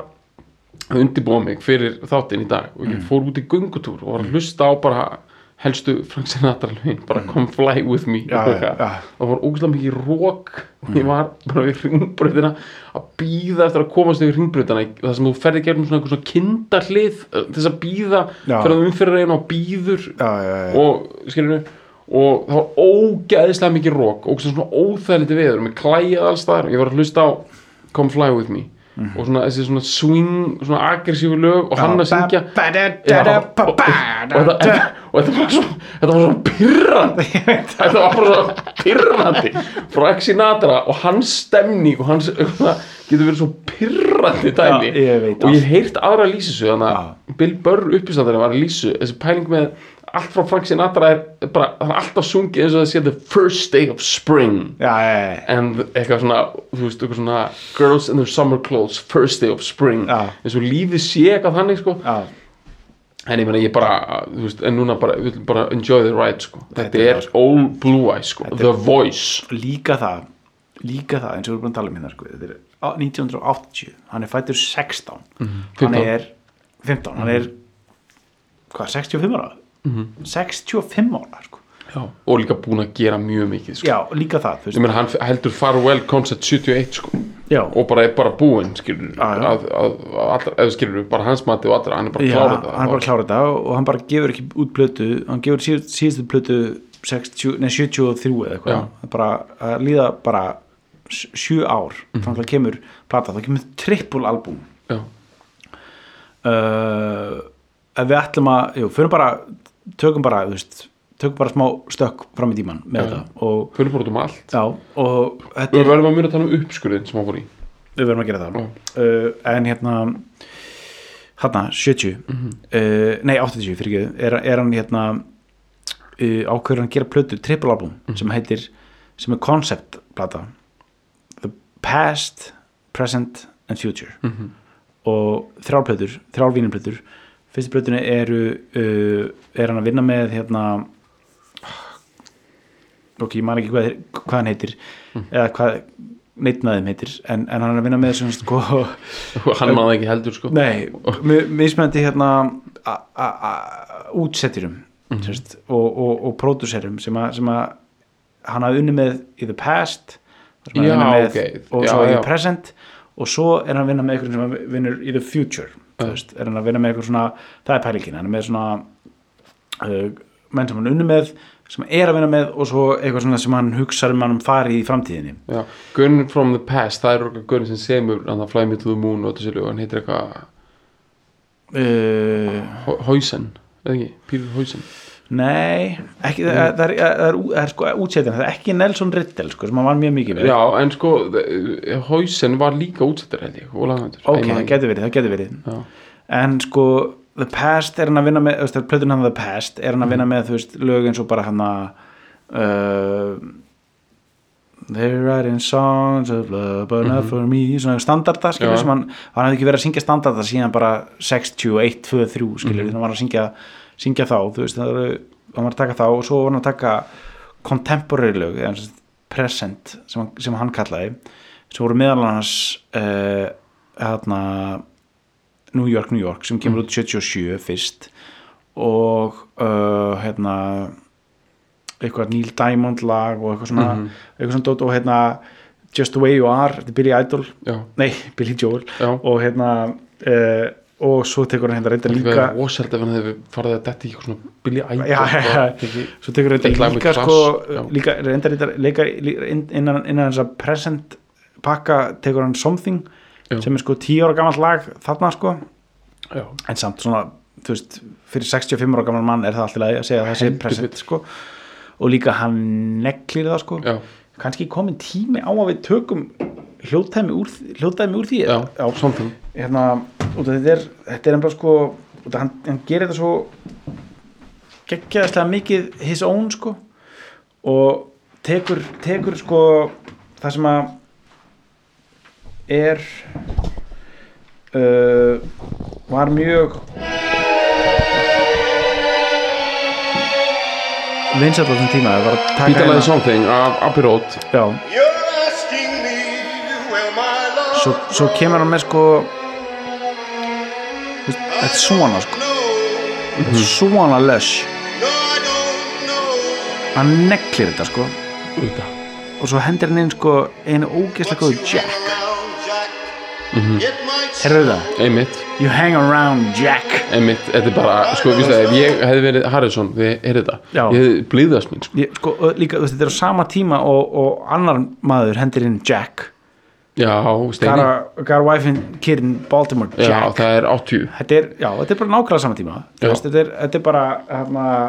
S3: Mm.
S2: að undirbúa mig fyrir þáttinn í dag og ég fór út í göngutúr og var að hlusta á bara helstu Frank Sinatra lögin bara come fly with me
S3: Mm. Já,
S2: og
S3: já.
S2: eitthvað.
S3: Mm.
S2: það var ógæslega mikið rók og ég var bara við ringbröðina að býða eftir að komast yfir ringbröðina það sem þú ferði gegnum svona einhver svona kindahlið þess að býða
S3: Já.
S2: fyrir að umfyrir einu og býður
S3: já, já, já.
S2: og skilur og það var ógeðislega mikið rók og svona óþægilegt veður með klæjað alls þar ég var að hlusta á Come Fly With Me og svona þessi svona swing svona aggressífu lög og hann að syngja Já, og, og, og, þetta, og þetta var svo þetta var svo pyrrandi þetta var bara svo pyrrandi frá Exi Natra og hans stemning og hans það getur verið svo pyrrandi
S3: Já,
S2: dæmi
S3: ég veit
S2: og
S3: allt.
S2: ég hef heyrt aðra lýsisu þannig að Bill Burr uppistandari var að lýsu þessi pæling með allt frá Frank Sinatra er bara, það er alltaf sungið eins og það sé the first day of spring
S3: já, já, já.
S2: and eitthvað svona, þú veist, eitthvað svona girls in their summer clothes, first day of spring
S3: Já.
S2: eins og lífið sé eitthvað þannig sko
S3: já,
S2: en ég meina ég bara þú veist, en núna bara, við viljum bara enjoy the ride sko. þetta
S3: er
S2: er all blue eyes sko. the voice
S3: líka það líka það eins og við erum búin að tala um hérna sko, þetta er á- 1980, hann er fættur 16 hann
S2: 15.
S3: er 15, hann er hvað, 65 ára? 65 ára sko.
S2: já. og líka búin að gera mjög mikið sko.
S3: já, líka það þú
S2: ég
S3: veist,
S2: meina hann heldur farewell concert 71 sko.
S3: já,
S2: og bara er bara búinn skilur
S3: Já, já.
S2: að, að, að, allra- eða skilur bara hans mati og allra, hann er bara
S3: já
S2: klárað
S3: hann er bara að klára þetta og hann bara gefur ekki út plötu hann gefur síð, síðustu plötu 60, nei, 73 eða
S2: Já.
S3: eitthvað Það er bara að líða bara 7 ár, mm þannig að kemur plata, þá kemur trippul albúm
S2: já,
S3: uh, ef við ætlum að jú, förum bara, tökum bara þú veist, tökum bara smá stökk fram í tíman með þetta og,
S2: fyrir bara út um allt
S3: já, og þetta
S2: við
S3: er,
S2: verðum að mjög að tala um uppskurðin sem hann fór í
S3: við verðum að gera það uh, en hérna hérna 70 uh, nei 80 fyrir ekki er, er hann hérna uh, ákveður hann að gera plötu triple album sem heitir sem er konceptplata The Past, Present and Future og þrjálplötur, þrjálvínumplötur fyrstu plötunni eru uh, er hann að vinna með hérna ok, ég man ekki hvað, þeir- hvað hann heitir eða hvað neitt með þeim heitir en, en hann er að vinna með svona sko,
S2: hann maður ekki heldur sko
S3: nei, mi- mismunandi hérna a- a- a- útsetjurum
S2: Mhm.
S3: mm og, og, og pródúserum sem, að- sem að hann hafði unni með í the past þar sem hann er að vinna
S2: Já,
S3: með,
S2: ok.
S3: og
S2: Já,
S3: svo í
S2: já.
S3: the present og svo er hann að vinna með ykkur sem hann vinnur í the future þú veist, er hann að vinna með ykkur svona það er pælingin, hann er með svona uh, menn sem hann er unni með sem hann er að vinna með og svo eitthvað svona sem hann hugsar um hann fari í framtíðinni
S2: Já, Gun from the past, það er okkar Gunn sem semur hann að fly me to the moon og þetta sér lög hann heitir eitthvað
S3: uh,
S2: Hausen, eða ekki, Pítur Hausen
S3: Nei, ekki, það, það, er, það, er, það er sko útsetjan, það er ekki Nelson Riddell sko, sem hann var mjög mikið með
S2: Já, en sko, Hausen var líka útsettur held ég og lagðandur
S3: Ok, það getur verið, það getur verið
S2: Já.
S3: En sko, The Past er hann að vinna með þú veist, það er plötun hann The Past er hann að vinna með, þú veist, lög eins og bara hann að uh, They're writing songs of love but not for me svona standarda, skilur,
S2: Já.
S3: sem hann hann hefði ekki verið að syngja standarda síðan bara 61, 2, 3, skilur, þannig hann var að syngja syngja þá, þú veist, það eru hann var að taka þá og svo var hann að taka contemporary lög, eða sem sagt present sem hann, sem hann kallaði sem voru meðal annars uh, hérna New York, New York sem kemur út 77 fyrst og uh, hérna eitthvað Neil Diamond lag og eitthvað svona,
S2: Mhm.
S3: eitthvað svona dót og hérna Just the way you are, þetta er Billy Idol
S2: Já,
S3: nei, Billy Joel
S2: já
S3: og hérna uh, og svo tekur hann hérna reynda
S2: Líka
S3: líka
S2: Ósælt ef hann hefði farið að detti í eitthvað svona sko. Billy Idol
S3: Já, já, já.
S2: og tekið-
S3: svo tekur
S2: Take
S3: reynda
S2: Like
S3: líka
S2: a Class,
S3: sko,
S2: já.
S3: líka reynda reynda leika lí- inn- innan, innan þess að present pakka tekur hann Something
S2: Já.
S3: sem er sko 10 ára gammal lag þarna sko
S2: já.
S3: en samt svona, þú veist, fyrir 65 ára gammal mann er það allt í lagi að segja að það sé
S2: Heldur
S3: present
S2: betur.
S3: sko. og líka hann neglir það sko
S2: Já.
S3: kannski komin tími á að við tökum hljóðdæmi úr, hljóðdæmi úr því
S2: Já,
S3: Já.
S2: something
S3: hérna, út af þetta er þetta er ennbla sko, út af hann, hann gerir þetta svo geggjaðislega mikið his own sko og tekur, tekur sko það sem að er uh, var mjög vinsætt á þessum tíma það var að taka hérna-
S2: Bítalagði Something af Abbey Road
S3: já,
S4: You're asking me, will my love
S3: svo, svo kemur hann með sko þú veist, þetta er svona sko
S4: know?
S2: Mhm.
S3: þetta er svona lush
S4: No, I don't
S3: hann neglir þetta sko
S2: Auðvitað.
S3: og svo hendir hann inn sko einu ógeðslega góðu Jack Herðu það?
S2: einmitt,
S3: You hang around Jack
S2: einmitt, þetta er bara sko, víst það, ef ég hefði verið Harrison við heyrði það,
S3: Já.
S2: ég hefði blíðast mín sko.
S3: ég, sko, ö, líka, þú veist, þetta er á sama tíma og, og annar maður hendir inn Jack
S2: já, steini,
S3: Gara, Gara Wifin Kirin Baltimore
S2: Mhm. já,
S3: Jack
S2: það er 80
S3: þetta, er, já, þetta er bara nákvæmlega sama tíma Þú
S2: Já.
S3: veist, þetta, er, þetta er bara hana,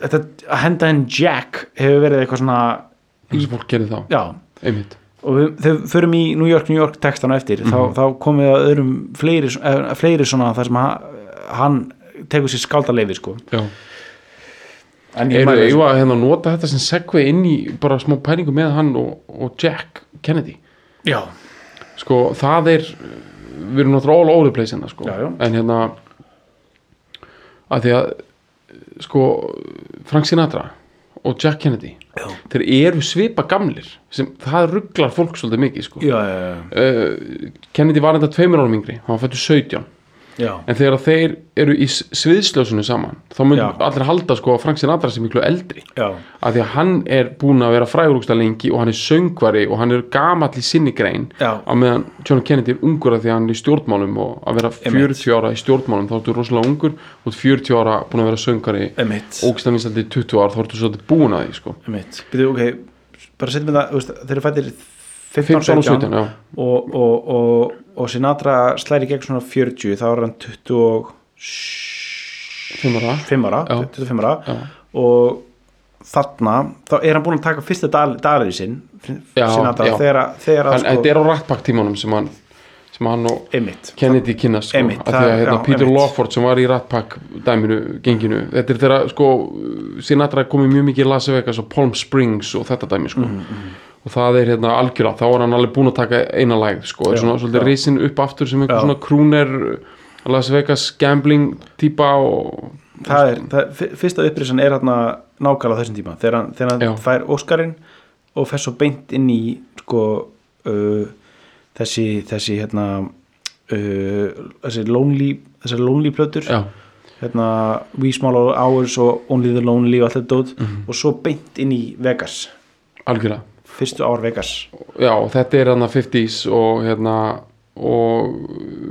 S3: þetta, að henda inn Jack hefur verið eitthvað svona
S2: eins og fólk gerir þá,
S3: já,
S2: einmitt
S3: og við, þegar við förum í New York, New York textan á eftir þá, þá komum við að öðrum fleiri, svo- eh, fleiri svona þar sem hann, hann tekur sér skáldaleifi sko.
S2: já.
S3: en
S2: Eru
S3: mæli-
S2: eigum að hérna nota þetta sem segvi inn í bara smá pælingu með hann og, og Jack Kennedy
S3: já,
S2: sko það er við erum náttúrulega all over the place hérna sko
S3: Já, já.
S2: en hérna að því að sko Frank Sinatra og Jack Kennedy
S3: Já.
S2: þeir eru svipa gamlir sem það rugglar fólk svolítið mikið sko
S3: já, já, já,
S2: uh, Kennedy var þetta tveimur árum yngri hann var fættu 17
S3: já.
S2: en þegar þeir eru í s- sviðsljósinu saman þá mun
S3: Já.
S2: allir halda sko að Frank Sinatra sem miklu eldri
S3: já.
S2: að því að hann er búinn að vera frægurúksta lengi og hann er söngvari og hann er gamall í sinni grein
S3: Já.
S2: á meðan John Kennedy er ungur að því að hann er í stjórnmálum og að vera 40 ára í stjórnmálum þá ertu rosalega ungur og ert 40 ára búinn að vera söngvari
S3: Einmitt.
S2: ógst hann í 20 ára þá ertu svolítið búinn að því sko.
S3: Einmitt. Byrju, ok, bara setjum við það þú veist, þeir eru fættir 15,
S2: 15 og 17 já.
S3: og, og, og, og Sinatra slæri gegn svona 40 þá er hann 25
S2: Fimm ára.
S3: ára,
S2: Já.
S3: 25 ára og þarna þá er hann búin að taka fyrsta dal, dalið sinn
S2: Já,
S3: Sinatra
S2: já.
S3: þegar, að- þegar að
S2: hann,
S3: sko,
S2: þetta er á rattpakk tímanum sem hann, sem hann og
S3: einmitt
S2: Kennedy kynnast sko,
S3: Einmitt,
S2: að því að
S3: það-
S2: hérna,
S3: já,
S2: Peter
S3: einmitt.
S2: Lawford sem var í rattpakk dæminu, genginu, þetta er þeirra sko, Sinatra komið mjög mikið í Las Vegas og Palm Springs og þetta dæmi
S3: Mhm,
S2: sko. og það er hérna algjörlega þá er hann alveg búinn að taka eina lægð sko, er svona svolítið risin upp aftur sem einhver
S3: Já.
S2: svona krúner Las Vegas gambling típa og
S3: það er, það, fyr- fyrsta upprisan er hérna nákvæmlega á þessum tíma þegar hann, þegar
S2: Já.
S3: hann fær Óskarinn og fer svo beint inn í sko uh, þessi, þessi hérna uh, þessi lonely þessar lonely plötur
S2: já,
S3: hérna We Small Hours og Only the Lonely og allt þetta dót
S2: Mhm.
S3: og svo beint inn í Vegas
S2: algjörlega
S3: fyrstu ár Vegas
S2: já, þetta er hérna 50s og hérna og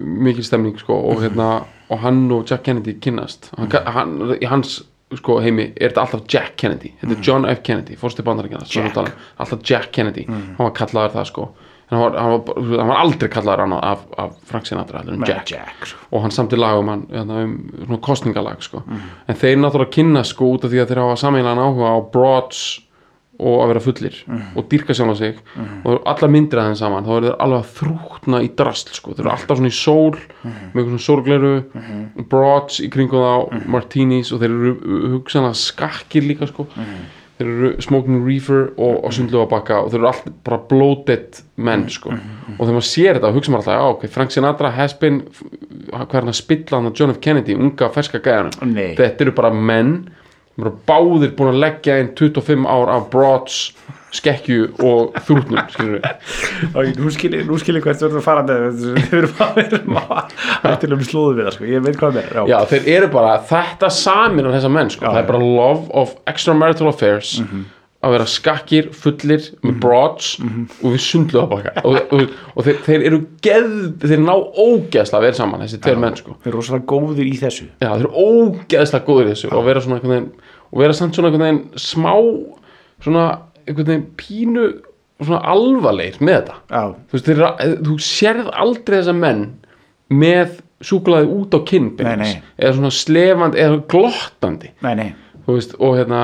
S2: mikil stemning sko og hérna, og hann og Jack Kennedy kynnast hann, hann, í hans sko heimi er þetta alltaf Jack Kennedy þetta er John F. Kennedy, fórstu bandaríkjana
S3: Jack.
S2: alltaf Jack Kennedy, hann var kallaður það sko en hann var, hann var, bara- hann var aldrei kallaður annað af, af Frank Sinatra, heldur en Jack
S3: Jack.
S2: og hann samti lag um hann hérna, um svona kostningalag sko. en þeir náttúrulega kynna sko út af því að þeir hafa sameinlegan áhuga á broads og að vera fullir og dýrka sjálf sig og allar myndir aðeins saman þá eru þeir alveg að þrútna í drasl sko. þeir eru alltaf svona í sól með einhvern svona sorgleru broads í kringum þá martinis og þeir eru hugsanlega skakkir líka sko. þeir eru smoking reefer og, og sundlugabakka og þeir eru alltaf bara bloated menn sko. og þegar maður sér þetta hugsa maður alltaf, já ok, Frank Sinatra has been hvað er hann að spilla hann að John F. Kennedy unga ferska gæðanum
S3: Nei.
S2: þetta eru bara menn sem eru báðir búin að leggja inn 25 ár af broads, skekkju og þrútnum, skilur við
S3: Ok, nú skilir, nú skilir hvert þú ert að fara með þetta. við erum að vera hættilegum slóðum við það sko, ég veit hvað það er
S2: Já, þeir eru bara, þetta samin af þessa menn, sko, það er bara love of extramarital affairs að vera skakkir, fullir, með broads og við sundlu að baka og, og, og þeir, þeir eru geð þeir ná ógeðsla að vera saman, þessi tveir menn, sko
S3: við erum rosalega góðir í þessu
S2: Já, þeir eru ógeðsla góður í þessu og vera svona einhvern veginn og vera samt svona einhvern veginn smá svona einhvern veginn pínu svona alvarleir með þetta
S3: Já.
S2: þú, veist, þeir, eru- þú sérð aldrei þessa menn með súkulaði út á kinn beinlínis.
S3: Nei, nei.
S2: eða svona slefandi eða glottandi
S3: nei, nei,
S2: þú veist, og hérna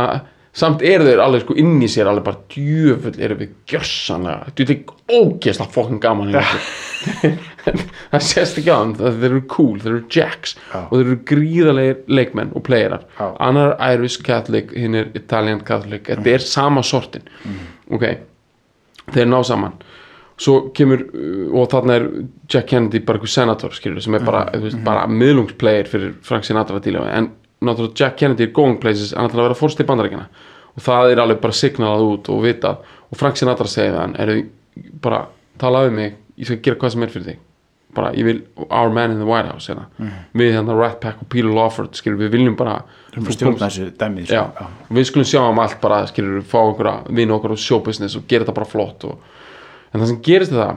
S2: samt eru þeir alveg sko inn í sér alveg bara djöfull eru við gjörsanlega þú veit ekki ógeðslega fokkin gaman í þessu. það sést ekki á þeim það- þeir eru cool, þeir eru jacks
S3: Já.
S2: og þeir eru gríðarlegir leikmenn og playerar
S3: Já.
S2: annar er Irish Catholic, hinn er Italian Catholic þetta
S3: Mhm.
S2: er sama sortin ok, þeir ná saman svo kemur, uh, og þarna er Jack Kennedy bara einhver senator skilur, við, sem er bara, þú veist, bara miðlungsplayer fyrir Frank Sinatra að díla við, en náttúrulega Jack Kennedy er going places, hann ætlar að vera fórst í bandarækina og það er alveg bara signalað út og vitað, og Frank Sinatra segir við hann, eru bara talaðu við mig, ég skal gera hvað sem er fyrir þig bara, ég vil our man in the White House hérna. við hérna Rat Pack og Peter Lawford skilur, við viljum bara
S3: Þú
S2: þú
S3: stjórna
S2: komst-
S3: þessu sko. dæmið
S2: Já, við skulum sjá um allt bara skilur, fá okkur að vinna okkur á showbusiness og gera þetta bara flott og... en það sem gerist er það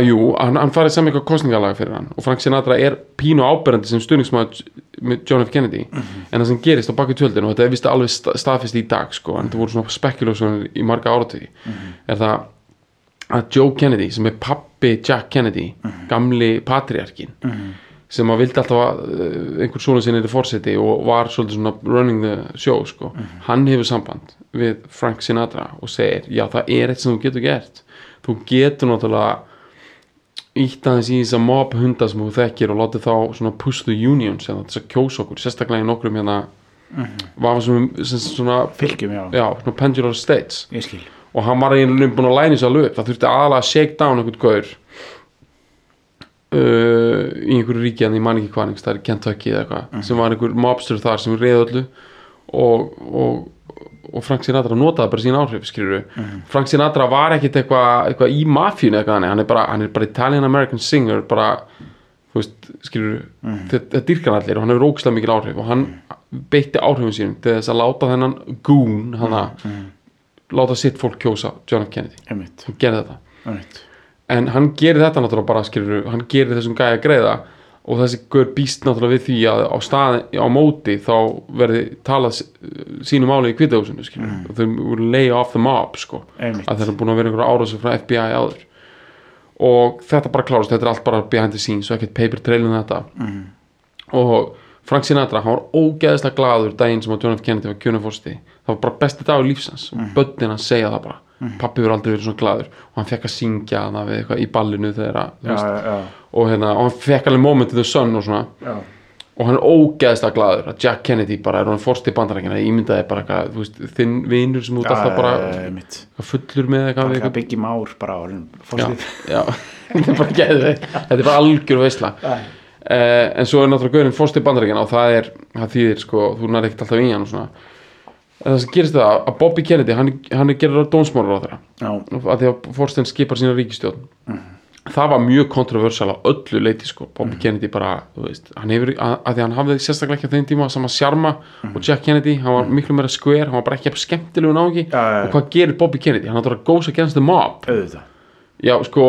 S2: að jú, hann, hann farið saman eitthvað kostningalaga fyrir hann og Frank Sinatra er pínu áberandi sem stuðningsmaður með John F. Kennedy en það sem gerist á baku tjöldin og þetta er vist alveg sta- staðfest í dag sko, en þetta voru svona spekulásjónir í marga áratví er það að Joe Kennedy sem er pappi Jack Kennedy gamli patriarkin sem að vildi alltaf að uh, einhver svona sinni er fórseti og var svolítið svona running the show sko. hann hefur samband við Frank Sinatra og segir já það er eitt sem þú getur gert þú getur náttúrulega ítt aðeins í þess að mob hunda sem þú þekkir og látið þá svona push the union sem þess að kjósa okkur, sérstaklega í nokkrum hérna vafa sem, sem svona
S3: Fylgjum, já.
S2: já, svona pendular states
S3: Ég skil.
S2: og hann var einhvern búin að læna þess að lög það þurfti aðalega að shake down einhvern gaur uh, í einhverju ríki en ég man ekki hvað það er Kentucky eða eitthvað sem var einhver mobster þar sem reyði öllu og, og, og Frank Sinatra notaði bara sín áhrif skilur Frank Sinatra var ekkit eitthvað eitthva í mafjun eitthvað þannig, hann er bara, hann er bara Italian American singer bara þú veist, skilur þetta, þetta dýrkan allir og hann hefur ógislega mikil áhrif og hann beitti áhrifum sínum til þess að láta þennan goon hana, láta sitt fólk kjósa John F. Kennedy
S3: Einmitt.
S2: hann gerði þetta
S3: Einmitt.
S2: en hann gerir þetta náttúrulega bara skilur, hann gerir þessum gæja greiða og þessi gaur býst náttúrulega við því að á staði, á móti þá verði talað s- sínu máli í kvitaðhúsinu skilur, og þau voru lay off the mob sko,
S3: Einmitt.
S2: að þeir eru búin að vera einhverja árásir frá FBI áður og þetta bara klárast, þetta er allt bara behind the scenes og ekkert paper trail um þetta
S3: Mhm.
S2: mm. og Frank Sinatra, hann var ógeðslega glaður daginn sem að John F. Kennedy var kjörnufórsti það var bara besti dagur lífsans
S3: Mhm.
S2: og börnin hans segja það bara, pappi verið aldrei verið svona glaður og hann fekk að syngja hana við eitthvað í ballinu þegar að, þú
S3: Já,
S2: veist,
S3: já, já.
S2: og, hérna, og hann fekk alveg moment in the sun og svona
S3: Já.
S2: og hann er ógeðslega glaður að Jack Kennedy bara er hann fórsti bandarækina, ímyndaði bara eitthvað, þú veist, þinn vinur sem út alltaf bara
S3: Já, já, já, einmitt.
S2: eitthvað fullur með eitthvað,
S3: Bara
S2: eitthvað
S3: byggjum ár bara á hennum.
S2: já, já. þetta er bara geðveikt. þetta er bara algjör veisla uh, en svo er náttúrulega gaurin fórst í bandaríkina og það er, það þýðir sko þú nær ekkert alltaf í hann og svona en það sem gerist það að Bobby Kennedy hann, hann er gerður á dónsmólar á þeirra
S3: Já,
S2: að því að Forstein skipar sína ríkistjórn
S3: Mhm.
S2: það var mjög kontroversal á öllu leiti sko, Bobby Kennedy bara þú veist, hann hefur, að, að því að hann hafði sérstaklega ekki á þeim tíma sama sjarma
S3: Mhm.
S2: og Jack Kennedy hann var miklu meira square, hann var bara ekki skemmtilegu náki
S3: Já, já, já.
S2: og hvað gerir Bobby Kennedy hann áttúrulega goes against the mob
S3: auðvitað.
S2: Já, sko,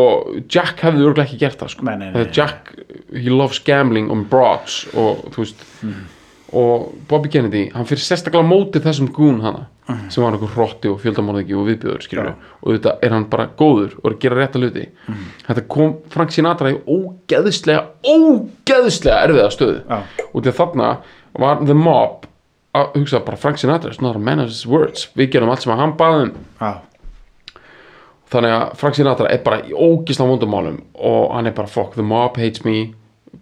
S2: Jack hefði örgulega ekki gert það, sko
S3: Nei, nei, nei,
S2: Þegar
S3: nei. Mhm.
S2: Jack, he loves gambling on broads og, þú veist og Bobby Kennedy, hann fyrir sérstaklega á móti þessum gún hana sem var einhver hrotti og fjöldamorðingi og viðbjöður, skilur
S3: Mhm. Já.
S2: og þetta er hann bara góður og er að gera rétta hluti
S3: Mhm.
S2: Þetta kom Frank Sinatra í ógeðslega, ógeðslega erfiða stöðu
S3: Já.
S2: og því að þarna var the mob að hugsa bara Frank Sinatra, is not a man of his words við gerum allt sem að hann um. baðum
S3: Já,
S2: þannig að Frank Sinatra er bara í ógisla vondumálum og hann er bara fuck, the mob hates me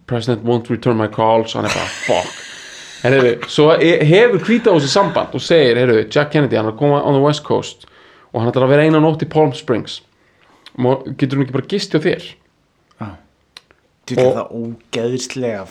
S2: president won't return my calls hann er bara fuck en hefur, svo e- hefur hvita á þessu samband og segir, hefur, Jack Kennedy, hann er að koma on the west coast og hann ætlar að vera eina nótt í Palm Springs Má- getur hann ekki bara gist hjá þér
S3: já. Þú veist
S2: Og-
S3: það ógeðislega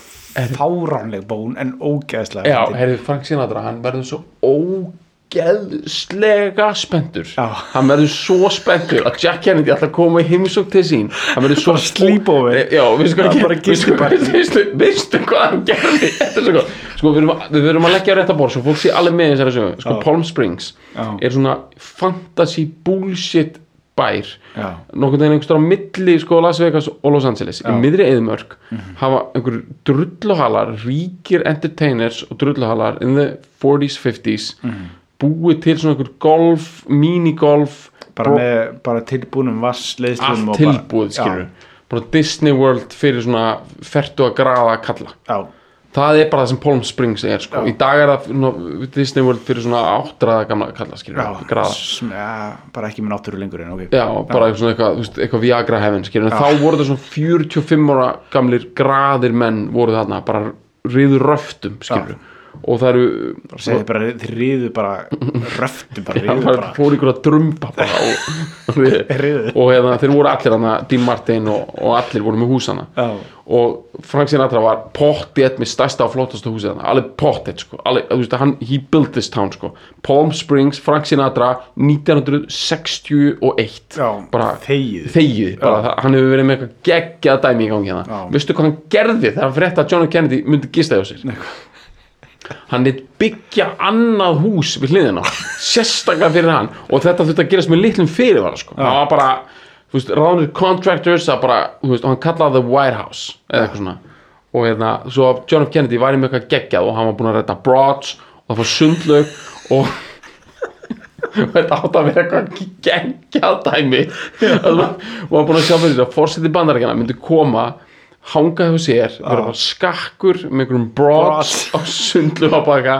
S3: fáránleg bón en ógeðislega
S2: Já,
S3: fyndin.
S2: heyrðu, Frank Sinatra, hann verður svo ógeðslega spendur
S3: Já.
S2: Hann verður svo spendur að Jack Kennedy ætlar að koma í heimsók til sín Hann verður svo
S3: Bara sleep over.
S2: Nei, Já,
S3: Já,
S2: veistu hvað
S3: bara
S2: hann veistu hvað-
S3: gistipartí.
S2: veistu- Veistu hvað hann gerði Þetta er svo gott Sko, við verum, við verum að leggja á rétta borð Svo fólk sé alveg með í þessari sögu Sko,
S3: Já.
S2: Palm Springs
S3: Já.
S2: er svona fantasy bullshit bær
S3: Já.
S2: nokkurn veginn einhverstað á milli sko Las Vegas og Los Angeles í miðri eðumörk
S3: Mhm.
S2: hafa einhver drulluhalar ríkir entertainers og drulluhalar in the 40s, 50s
S3: Mhm.
S2: búið til svona einhver golf minigolf
S3: Bara með bara tilbúnum vassleiðslum
S2: allt tilbúið skilur bara Disney World fyrir svona fertu að graða kalla
S3: Já,
S2: það er bara það sem Palm Springs er sko. í dag er það ná, Disney World fyrir svona áttræða gamla kalla skilur
S3: já,
S2: graða
S3: sm- já, bara ekki með náttúru lengur en ok
S2: Já, bara svona eitthvað, þú veist, eitthvað Viagra hefn skilur, en þá voru það svona 45 ára gamlir graðir menn voru þarna bara riður röftum skilur, og það eru
S3: bara segði bara, þið ríðu bara röftu bara,
S2: Já,
S3: ríðu
S2: bara
S3: bara
S2: fór ykkur að drumba bara og,
S3: Riðu.
S2: og hérna, þeir voru allir hana, Dean Martin og, og allir voru með húsana
S3: Já.
S2: og Frank Sinatra var pottið með stærsta og flottasta húsið hana alveg pottið, sko, alveg, þú veist að hann he built this town, sko, Palm Springs Frank Sinatra 1961
S3: Já,
S2: bara
S3: þegið.
S2: þegið, bara, það- hann hefur verið með eitthvað geggjað dæmi í gangi hérna,
S3: Já.
S2: veistu hvað hann gerði þegar hann frétta að John F. Kennedy myndi gista hjá sér hann lit byggja annað hús við hliðina sérstaklega fyrir hann og þetta þurfti að gerast með litlum fyrirvara sko. það var bara, þú veist, ráðunir contractors það bara, þú veist, og hann kallaði það White House eða eitthvað svona og hérna, svo John F. Kennedy var í með eitthvað geggjað og hann var búin að redda Broads og það var sundlög og þetta átt að vera eitthvað geggjað dæmi og hann var búin að sjá fyrir sér að fórseti bandarækjana myndi koma hanga hjá sér, vera bara skakkur með einhverjum broads
S3: Broads.
S2: á sundlu á baka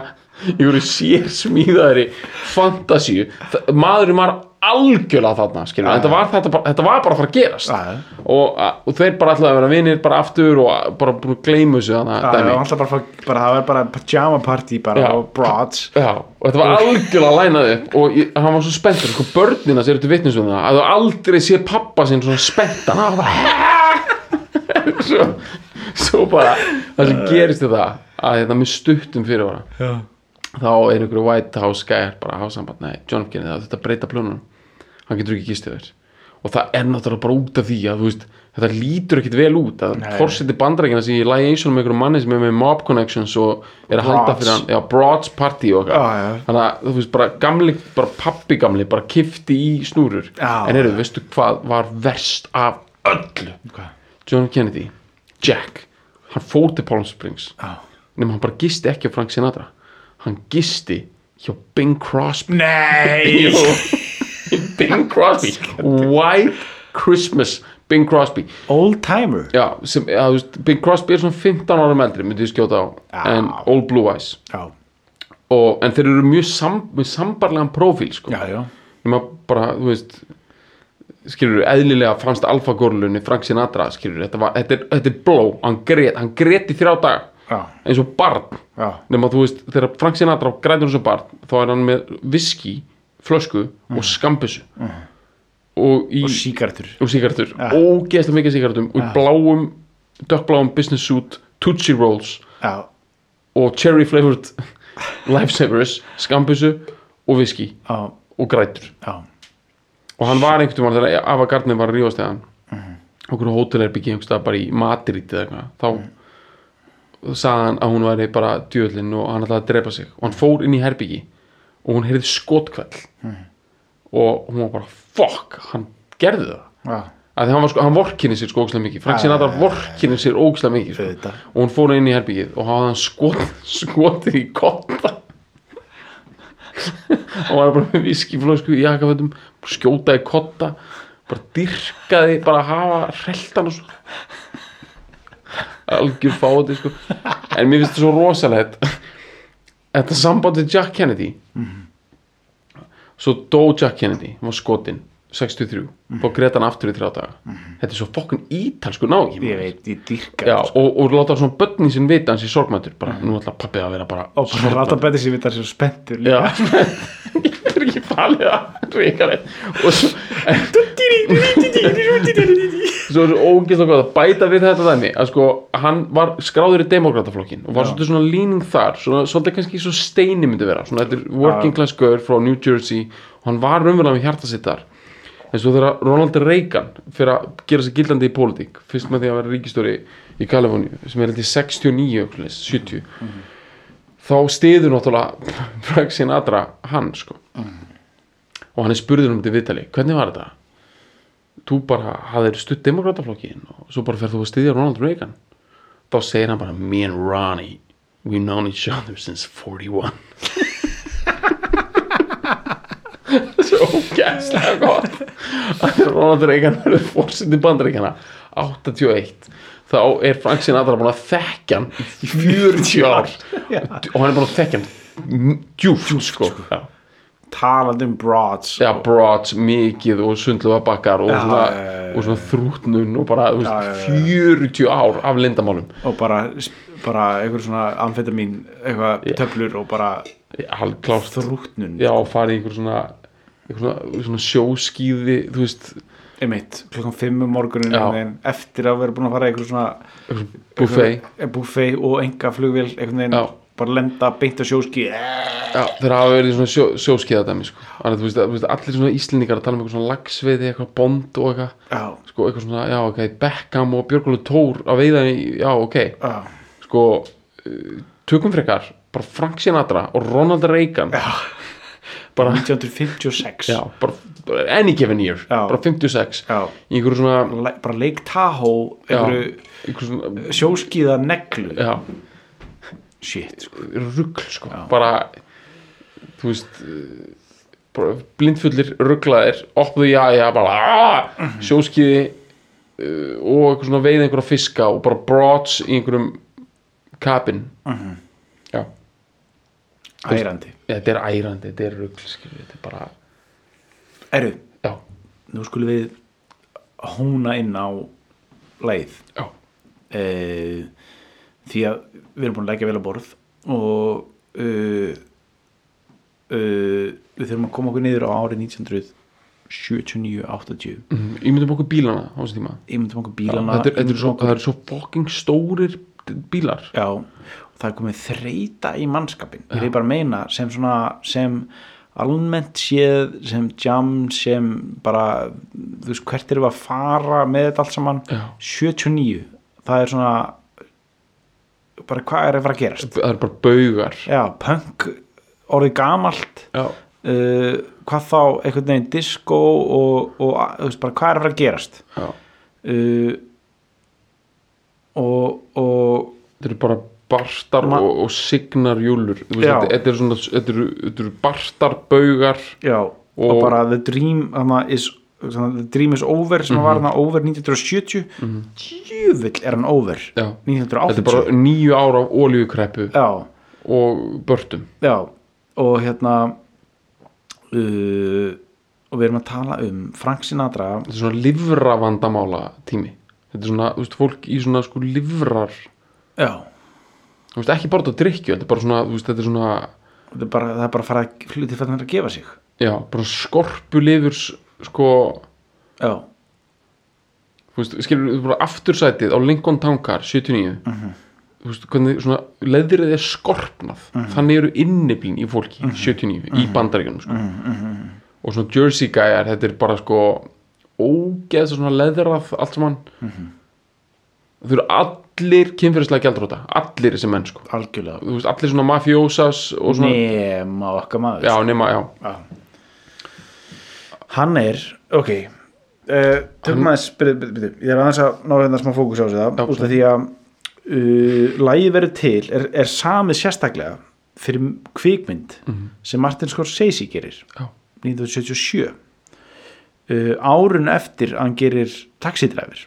S2: í voru sér smíðaðri fantasíu Þa- maðurinn var algjörlega þarna skilur, þetta, var, þetta, bara, þetta var bara að fara að gerast
S3: Já, já.
S2: og, og þeir bara ætlaði að vera vinir bara aftur og bara búin að gleyma þessu þannig
S3: Já,
S2: að
S3: já,
S2: dæmi
S3: alltaf bara, fá- bara, það var bara pajama party bara
S2: Já.
S3: og broads
S2: Já, og þetta var algjörlega lænað upp og ég, hann var svo spenntur, sko börnina sér þetta vitnisvöðna um að þú aldrei sé pappa sinn svona spenntan hann var bara svo, svo bara það sem gerist þetta að þetta með stuttum fyrirvara
S3: Já.
S2: þá er einhverju White House gæjar bara hásamband, nei, John F. Kennedy það þetta breyta plönunum, hann getur ekki gist yfir og það er náttúrulega bara út af því að þú veist, þetta lítur ekkit vel út að fórseti bandarækina sem ég lægi eins og með einhverjum manni sem er með mob connections og er að halda
S3: Broads.
S2: fyrir hann já, Broads Party og
S3: Já, já.
S2: eitthvað þannig að þú veist bara gamli, bara pappi gamli bara kifti í snúrur
S3: Já.
S2: en eru, veistu hvað var verst af öllu
S3: Hvað?
S2: John F. Kennedy, Jack hann fór til Palm Springs
S3: Já.
S2: nema hann bara gisti ekki á Frank Sinatra hann gisti hjá Bing Crosby
S3: Nei
S2: Jú. Bing Crosby White Christmas Bing Crosby
S3: Old timer
S2: Já, sem, að, þú veist, Bing Crosby er svona 15 árum eldri myndi ég skjóta á,
S3: Já.
S2: en Old Blue Eyes
S3: Já,
S2: og, en þeir eru mjög sam, með sambarlegan prófíl sko.
S3: já, já
S2: nema bara, þú veist skilur, eðlilega fannst Alfa Gorlunni Frank Sinatra, skilur, þetta, var, þetta, er, þetta er blow, hann grét, hann grét í þrjá dag
S3: Já.
S2: eins og barn
S3: Já.
S2: nema þú veist, þegar Frank Sinatra grætur eins og barn, þá er hann með viski flösku og skambissu og í
S3: Mhm. Og sígartur
S2: og síkartur, ógeðslega mikið síkartum og í bláum, dökkbláum business suit, Tootsie Rolls
S3: Já,
S2: og cherry flavored lifesavers, skambissu og viski
S3: já,
S2: og grætur
S3: já
S2: og hann var einhvern veginn þegar Ava Gardner var að rífast eða hann okkur hótelherbyggi einhvers staðar bara í Madrid eða eitthvað þá sagði hann að hún væri bara djöðlinn og hann ætlaði að drepa sig og hann fór inn í herbyggi og hún heyrði skotkvæll og hún var bara fuck, hann gerði það
S3: Já,
S2: að því hann, var sko, hann vorkinni sér sko ógislega mikið Frank Sinatra vorkinni sér ógislega mikið sko.
S3: Auðvitað.
S2: og hún fór inn í herbyggið og hafði hann skot, skotið í kotta og hann var bara með viskiflösku í jakafötum skjótaði kotta bara dyrkaði, bara að hafa reltan og svona algjör fáti sko en mér finnst það svo rosalegt þetta samband við Jack Kennedy svo dó Jack Kennedy hann var skotinn 63 mm. og greta hann aftur í þrjá daga þetta er svo fokkun ítalsku nági
S3: ég veit, ég dýrka
S2: Já, og, og láta svona börnin sinn vita hans í sorgmættur bara, nú ætla pappið að vera bara
S3: Og bara ráta betið sér vitar sér spenntur líka.
S2: Já Ég fyrir ekki falið að ríkalegt Og svo Svo er svo ógeðslega gott að bæta við þetta dæmi að sko, hann var skráður í demokrataflokkin og var svolítið svona leaning þar svona, svolítið kannski svo steini myndi vera svona, þetta er working class girl frá New Jersey og hann var raunverulega með hjarta sitt þar en svo þegar Ronald Reagan fyrir að gera sig gildandi í pólitík fyrst með því að vera ríkistóri í Kaliforníu sem er held í 69, eitthvað svoleiðis, 70 þá stiður náttúrulega Frank Sinatra hann sko og hann er spurður um þetta í viðtali hvernig var þetta? þú bara hafðir stutt demokrataflokkin og svo bara ferð þú að stiðja Ronald Reagan þá segir hann bara me and Ronnie we've known each other since 41 svo ógæslega gott að Ronald Reagan verður fórsindi bandaríkjana 81 þá er Frank Sinatra búin að þekkja hann í 40 ár og hann er búin að þekkja hann djúft sko Já.
S3: talandi um broads
S2: Já, broads, mikið og sundlega bakkar og,
S3: Já,
S2: svona,
S3: já, já, já,
S2: og svona þrútnun og bara þú
S3: Já,
S2: veist,
S3: já,
S2: 40 ár af lindamálum
S3: og bara, bara einhver svona amfetamin, eitthvað töflur og bara
S2: Allt klárt
S3: þrútnun
S2: Já, farið í einhver svona, einhver svona, svona sjóskíði þú veist,
S3: einmitt, klokkan 5 um morgunin
S2: Já.
S3: einhvern veginn, eftir að vera búin að fara í einhver svona
S2: buffet
S3: einhver- eh, buffet og enga flugvél einhvern veginn,
S2: Já.
S3: bara lenda beint á sjóski
S2: Já, þeir hafa verið í svona sjó, sjóskíðadæmi sko. Þannig, að þú veist, að- þú veist, allir svona íslendingar að tala um eitthvað svona lagsveiði, eitthvað bond og eitthvað
S3: já,
S2: sko, eitthvað svona, já, ok, Beckham og Björgólu Tór að veiða í, já, ok
S3: já,
S2: sko, eh, tökum frekar bara Frank Sinatra og Ronald Reagan já. bara,
S3: 1956
S2: já, bara, bara any given year,
S3: Já.
S2: bara 56
S3: Já.
S2: í einhverju svona,
S3: Le, bara Lake Tahoe
S2: já,
S3: einhverju
S2: einhverju svona
S3: sjóskiða neglu
S2: já,
S3: shit, sko.
S2: rugl, sko, bara þú veist eh, bara blindfullir rugglaðir opnuðu jæja, bara aah, sjóskiði eh, og eitthvað svona veið einhverja fiska og bara broads í einhverjum kapin já
S3: ærandi
S2: þetta er ærandi, þetta er rugl skilur, þetta er bara,
S3: Eru,
S2: já,
S3: nú skulum við hóna inn á leið
S2: já
S3: e, því að við erum búin að leggja vel á borð og e, e, við þurfum að koma okkur niður á ári 1979-80
S2: mm, ég myndum okkur bílana á þessum tíma
S3: ég myndum okkur
S2: Já,
S3: bílana
S2: þetta er, þetta er svo,
S3: ímyndum
S2: það
S3: okkur,
S2: eru svo fucking stórir bílar
S3: já, og það er komið þreita í mannskapin ég er bara að meina sem svona sem almennt séð sem jam, sem bara þú veist hvert erum við að fara með þetta allt saman
S2: Já.
S3: 79, það er svona bara hvað er að fara að gerast
S2: það eru bara baugar
S3: já, punk orðið gamalt
S2: já,
S3: uh, hvað þá einhvern veginn disco og, og þú veist bara hvað er að fara að gerast
S2: já.
S3: uh, og, og
S2: þetta eru bara bartar
S3: Ma-
S2: og, og signarjúlur Þú veist,
S3: Já.
S2: þetta, þetta eru svona þetta eru, þetta eru bartar, baugar
S3: já, og,
S2: Og-
S3: bara the dream hana, is, hana, the dream is over sem
S2: Mhm.
S3: var hana over 1970 mm djöfull er hann over
S2: já. þetta
S3: 1980
S2: er bara nýju ár af olíukreppu
S3: já,
S2: og börtum
S3: já, og hérna uh, og við erum að tala um Frank Sinatra
S2: þetta er svona livravandamála tími þetta er svona, þú veist, fólk í svona sko livrar
S3: já,
S2: þú veist, ekki bara að drikju, þetta er bara svona, þú veist, þetta er svona
S3: það er bara, það er bara að fara að hluti fyrir að gefa sig
S2: já, bara skorpulifur sko,
S3: já,
S2: þú veist, skilur þú bara aftursætið á Lincoln Tankar 79 þú veist, hvernig svona leðrið er skorpnað þannig eru inniblin í fólki 79, í bandaríkjunum sko. og svona Jersey gæjar þetta er bara sko ógeðs svona leðrað allt saman þau eru allir kynferðislega gjaldróta, allir þessi menn sko.
S3: algjörlega
S2: þú veist, allir svona mafjósas og svona,
S3: nema okkar maður
S2: já, nema, já
S3: hann er, ok uh, tökum aðeins, byrju, byrju, byrju ég er aðeins að ná hérna smá fókus á sig það út af því að uh, lægi verið til er, er samið sérstaklega fyrir kvikmynd sem Martin Scorsese gerir
S2: Já.
S3: 1977 uh, árun eftir að hann gerir taxidræfir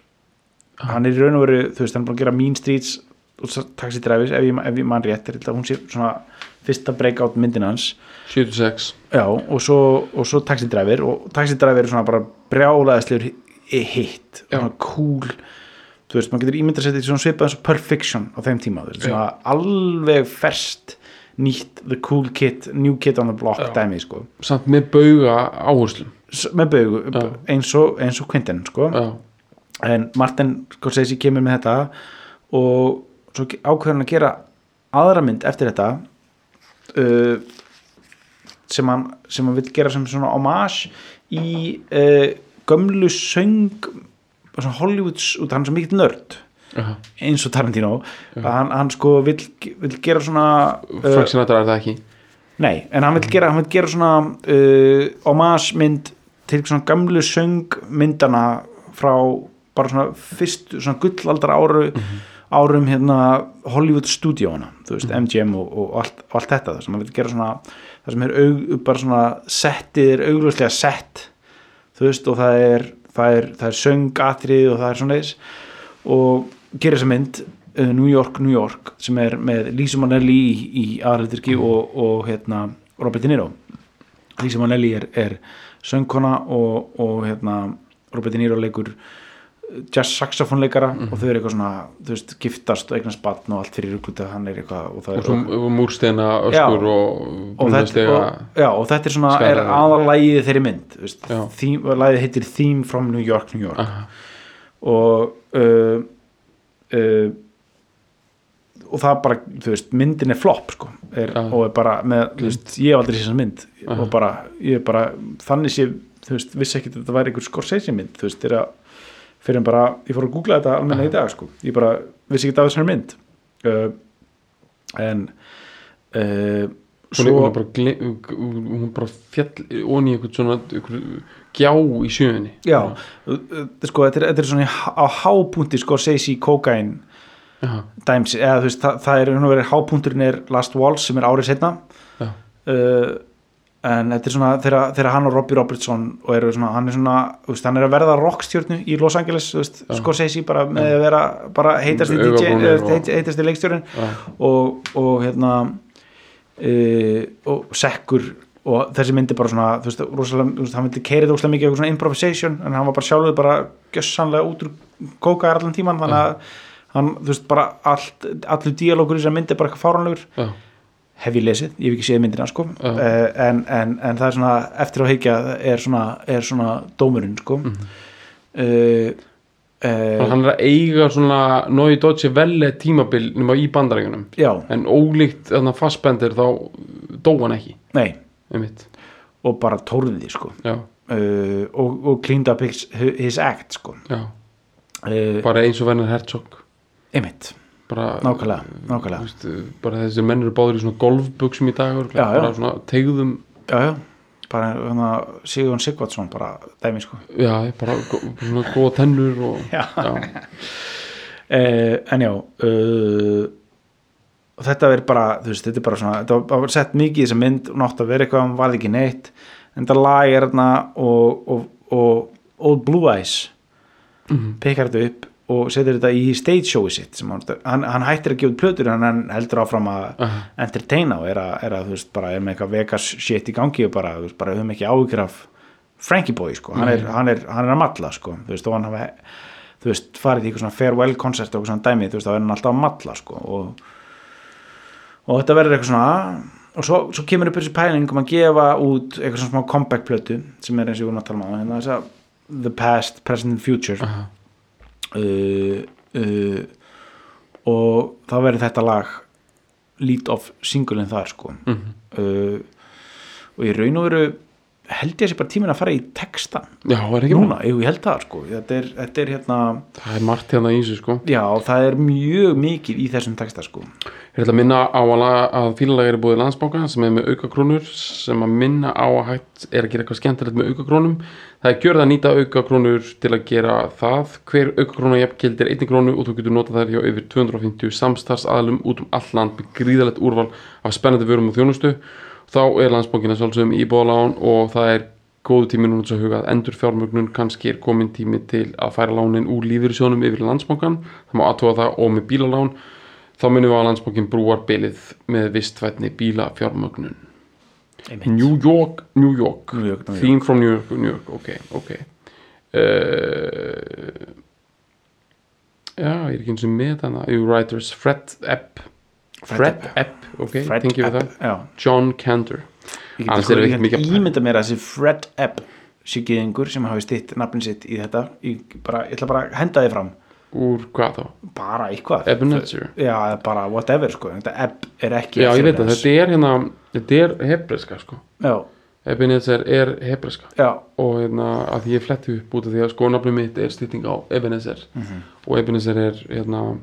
S3: hann er í raun og veru, þú veist, hann er búin að gera Mean Streets og taxidræfis ef ég, ef ég man rétt, er þetta hún sé svona fyrsta breakout myndin hans
S2: 76
S3: Já, og svo, og svo taxidræfir og taxidræfir er svona bara brjálaðislegur hi- hitt
S2: Já.
S3: svona cool þú veist, maður getur ímyndað sér þetta í svona svipað eins og Perfection á þeim tíma, þú veist, svona alveg ferst nýtt the cool kid, new kid on the block dæmi, sko,
S2: samt með bauga áherslum
S3: S með baugu eins og, eins og Quentin, sko
S2: já,
S3: en Martin Scorsese kemur með þetta og svo ákveður hann að gera aðra mynd eftir þetta uh, sem hann, sem hann vil gera sem svona homage í uh, gömlu söng svona Hollywoods út af hann er svo mikill nörd
S2: já.
S3: eins og Tarantino að hann, hann sko vill, vill gera svona uh,
S2: Frank Sinatra er það ekki
S3: Nei, en hann vil gera, hann vil gera svona uh, homage mynd til svona gamlu söngmyndana frá bara svona fyrst, svona gullaldar áru, árum hérna Hollywood stúdíóna, þú veist, MGM og, og allt, og allt þetta, þess að hann vil gera svona það sem er aug, bara svona settið er augljóslega sett þú veist, og það er, það er, það er söngatrið og það er svona þess og gerir þessa mynd uh, New York, New York sem er með Lisa Manelli í, í aðrættirki og, og hérna Robert De Niro Lisa Manelli er, er söngkona og, og hérna, Robert De Niro leikur jazz saxofónleikara og þau eru eitthvað svona, þú veist, giftast og eignast batn og allt fyrir rúklut hann er eitthvað og það
S2: og
S3: er
S2: svo múrstena
S3: Já.
S2: öskur og
S3: og þetta,
S2: brúnastega
S3: og, já, og þetta er svona er
S2: Skarar.
S3: aðalægið þeirri mynd þú veist,
S2: Já.
S3: theme, lagið heitir Theme from New York, New York og uh, uh, og það bara þú veist, myndin er flop sko, er,
S2: Já.
S3: og er bara með, þú veist, ég hef aldrei séð þessa mynd og bara, ég er bara þannig sé, þú veist, vissi ekki að þetta væri einhver Scorsese mynd, þú veist, er að fyrir en bara, ég fór að googla þetta almenna í dag sko. ég bara vissi ekki að þessari mynd uh, en uh,
S2: hún, er- hún, er bara gle- hún bara fjall onni einhvern svona einhver, gjá í sjöunni
S3: Já, uh, uh, sko, þetta er, þetta er svona í há- á hápunti sko, Seisi Kokain
S2: Já.
S3: dæms, eða þú veist, það, það er hún verið hápunturinn er Last Waltz sem er árið setna
S2: Já.
S3: uh, en þetta er svona þegar, þegar hann og Robbie Robertson og eru svona, hann er svona, þú veist, hann er að verða rockstjörnu í Los Angeles, þú veist, sko Seisi bara með að vera, bara heitast í DJ,
S2: Augabrúnir
S3: og...
S2: og-
S3: heit, heitast í leikstjörun
S2: Já.
S3: og, og hérna uh, og sekkur og þessi myndi bara svona þú veist, rosalega, þú veist, hann vildi keiri það óslega mikið eitthvað svona improvisation en hann var bara sjálfur bara gjössanlega út úr kókaðar allan tíman þannig að hann, þú veist, bara allt, allur díalókur í þessar myndi bara eitthvað fáranlegur
S2: Já.
S3: hef ég lesið, ég hef ekki séð myndina sko. uh, en, en, en það er svona eftir á higgja er svona, er svona dómurinn sko. Eh, uh, uh,
S2: hann er að eiga svona Nói Dodge Velle tímabil nema í bandarækjunum
S3: já,
S2: en ólíkt þannig að fastbendir þá dó hann ekki
S3: nei
S2: einmitt
S3: og bara tórði sko.
S2: já,
S3: uh, og, og cleaned up his, his act sko.
S2: já.
S3: uh,
S2: bara eins og verður Herzog
S3: einmitt,
S2: bara,
S3: nákvæmlega,
S2: þú
S3: nákvæmlega.
S2: veist, bara þessi menn eru báður í svona golfbuxum í dag já,
S3: Já, já.
S2: bara svona tegðum
S3: Já, já, bara hana, Sigurðan Sigvardsson bara dæmi sko.
S2: já, bara gó- svona góða tennur og,
S3: Já.
S2: já,
S3: uh, en já uh, og þetta er bara þú veist, þetta er bara svona, þetta var- var sett mikið í þessa mynd og nátt að vera eitthvað, hann varði ekki neitt en þetta lag er þarna og, og, og Old Blue Eyes pekar þetta upp og setur þetta í stage showi sitt sem hann, hann, hann hættir að gefa út plötur en hann heldur áfram að entertaina og er að, er að þú veist bara er með eitthvað Vegas shit í gangi og bara, þú veist, bara höfum ekki áhyggjur af Frankie Boy sko, hann er, hann er, hann er að matla sko, þú veist, og hann hafa þú veist, farið í eitthvað svona farewell concert og eitthvað svona dæmi, þú veist, þá er hann alltaf að matla sko og, og þetta verður eitthvað svona og svo, svo kemur upp þessi pæling um að gefa út eitthvað svona smá comeback plötu sem er eins og ég vorum að tala um að hérna þess að the past, present and future uh, uh, og þá verður þetta lag lead of singulinn þar sko
S2: Mhm.
S3: uh, og ég raun og veru held ég að sé bara tíminn að fara í texta
S2: já, er ekki
S3: núna, jú, ég held það sko þetta er, þetta er hérna
S2: það er margt hérna í þessu sko
S3: já, það er mjög mikið í þessum texta sko
S2: Ég ætla að minna á að, la- að fílalega er búið landsbánka sem er með auka krónur sem að minna á að hægt er að gera eitthvað skemmtilegt með auka krónum. Það er gjörð að nýta auka krónur til að gera það. Hver auka krónu jafngildir einni krónu og þú getur notað þær hjá yfir 250 samstarfsaðlum út um allt land með gríðalegt úrval af spennandi vörum og þjónustu. Þá er landsbánkina sjálfsögum í bóðalán og það er góðu tími núna til að huga að endur fjármögnun kannski er komin tími til að færa lánin úr lífyrirsjónum yfir í landsbankan það má aðtóa það og með bílalán þá minnum við að landsbókin brúar bilið með vistvætni bílafjármögnun New York,
S3: New
S2: New York,
S3: York, New York.
S2: Theme from New York, New York, ok, ok uh, Já, ég er ekki eins og með þarna You Writers, Fred Epp Fred Epp, ok,
S3: Fred
S2: tengjum við
S3: Epp,
S2: það
S3: já.
S2: John Kander
S3: Ég get
S2: Annars
S3: sko-
S2: erum við
S3: ég
S2: ekki mikið
S3: get
S2: að-
S3: ímynda mér að þessi Fred Epp sigiðingur sem hafi stýtt nafnin sitt í þetta ég, bara, ég ætla bara að henda þið fram
S2: Úr hvað þá?
S3: bara eitthvað
S2: Ebenezer
S3: já, bara whatever sko þetta Epp er ekki
S2: Já, ég veit að
S3: Ebenezer.
S2: þetta er hérna þetta er hebreska sko Ebenezer er hebreska
S3: já, já,
S2: og hérna að því ég fletti upp út af því að sko nafnum mitt er stýtting á Ebenezer
S3: Mhm.
S2: og Ebenezer er hérna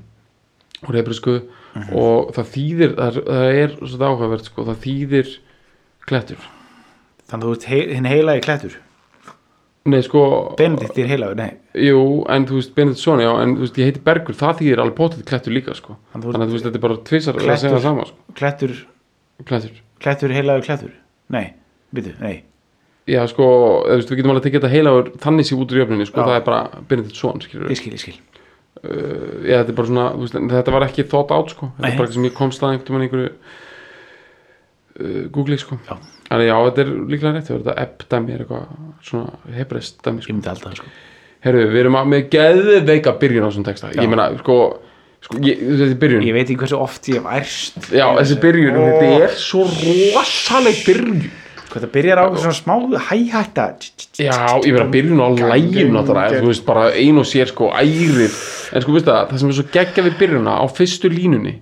S2: úr hebresku
S3: Mhm.
S2: og það þýðir, það er, það er svo áhugavert sko, það þýðir klettur.
S3: þannig að þú ert hei, hinn heilagi klættur
S2: Nei sko,
S3: Benedikt er heilagur, nei
S2: jú, en þú veist Benediktsson, já, en þú veist ég heiti Bergur, það þýðir alveg potið klettur líka sko,
S3: Þannig þú-
S2: þannig að þú veist þetta er bara tvisar að segja
S3: Klettur.
S2: það sama sko,
S3: klættur,
S2: klettur.
S3: klættur, heilagur klættur nei, byrju, nei
S2: Já sko, eða, þú veist, við getum alveg að tekja þetta heilagur þannig sér út úr jöfninni sko,
S3: Já.
S2: það er bara Benediktsson, skilur
S3: ég skil, ég skil
S2: Já, þetta er bara svona, þú veist, en þetta var ekki thought out sko, þetta
S3: Nei.
S2: er bara eitthvað sem ég komst að einhvern veginn einhverju uh, Google sko
S3: Já.
S2: Þannig já, þetta er líklega rétt það er þetta epdæmi er eitthvað svona hebreistdæmi
S3: ég
S2: sko.
S3: myndi alltaf sko.
S2: Herru, við erum að með geðveika byrjun á þessum texta Ég meina, sko, sko ég, þetta er byrjun
S3: ég veit ekki hversu oft ég hef ærst
S2: Já, þessi byrjun, þetta er svo rosaleg byrjun
S3: hvað það byrjar á svona smá hæhætta
S2: Já, ég verið að byrja nú á lægjum náttúrulega, þú veist, bara ein og sér sko ærir, en sko, veist það, það sem er svo geggja við byrjunna á fyrstu línunni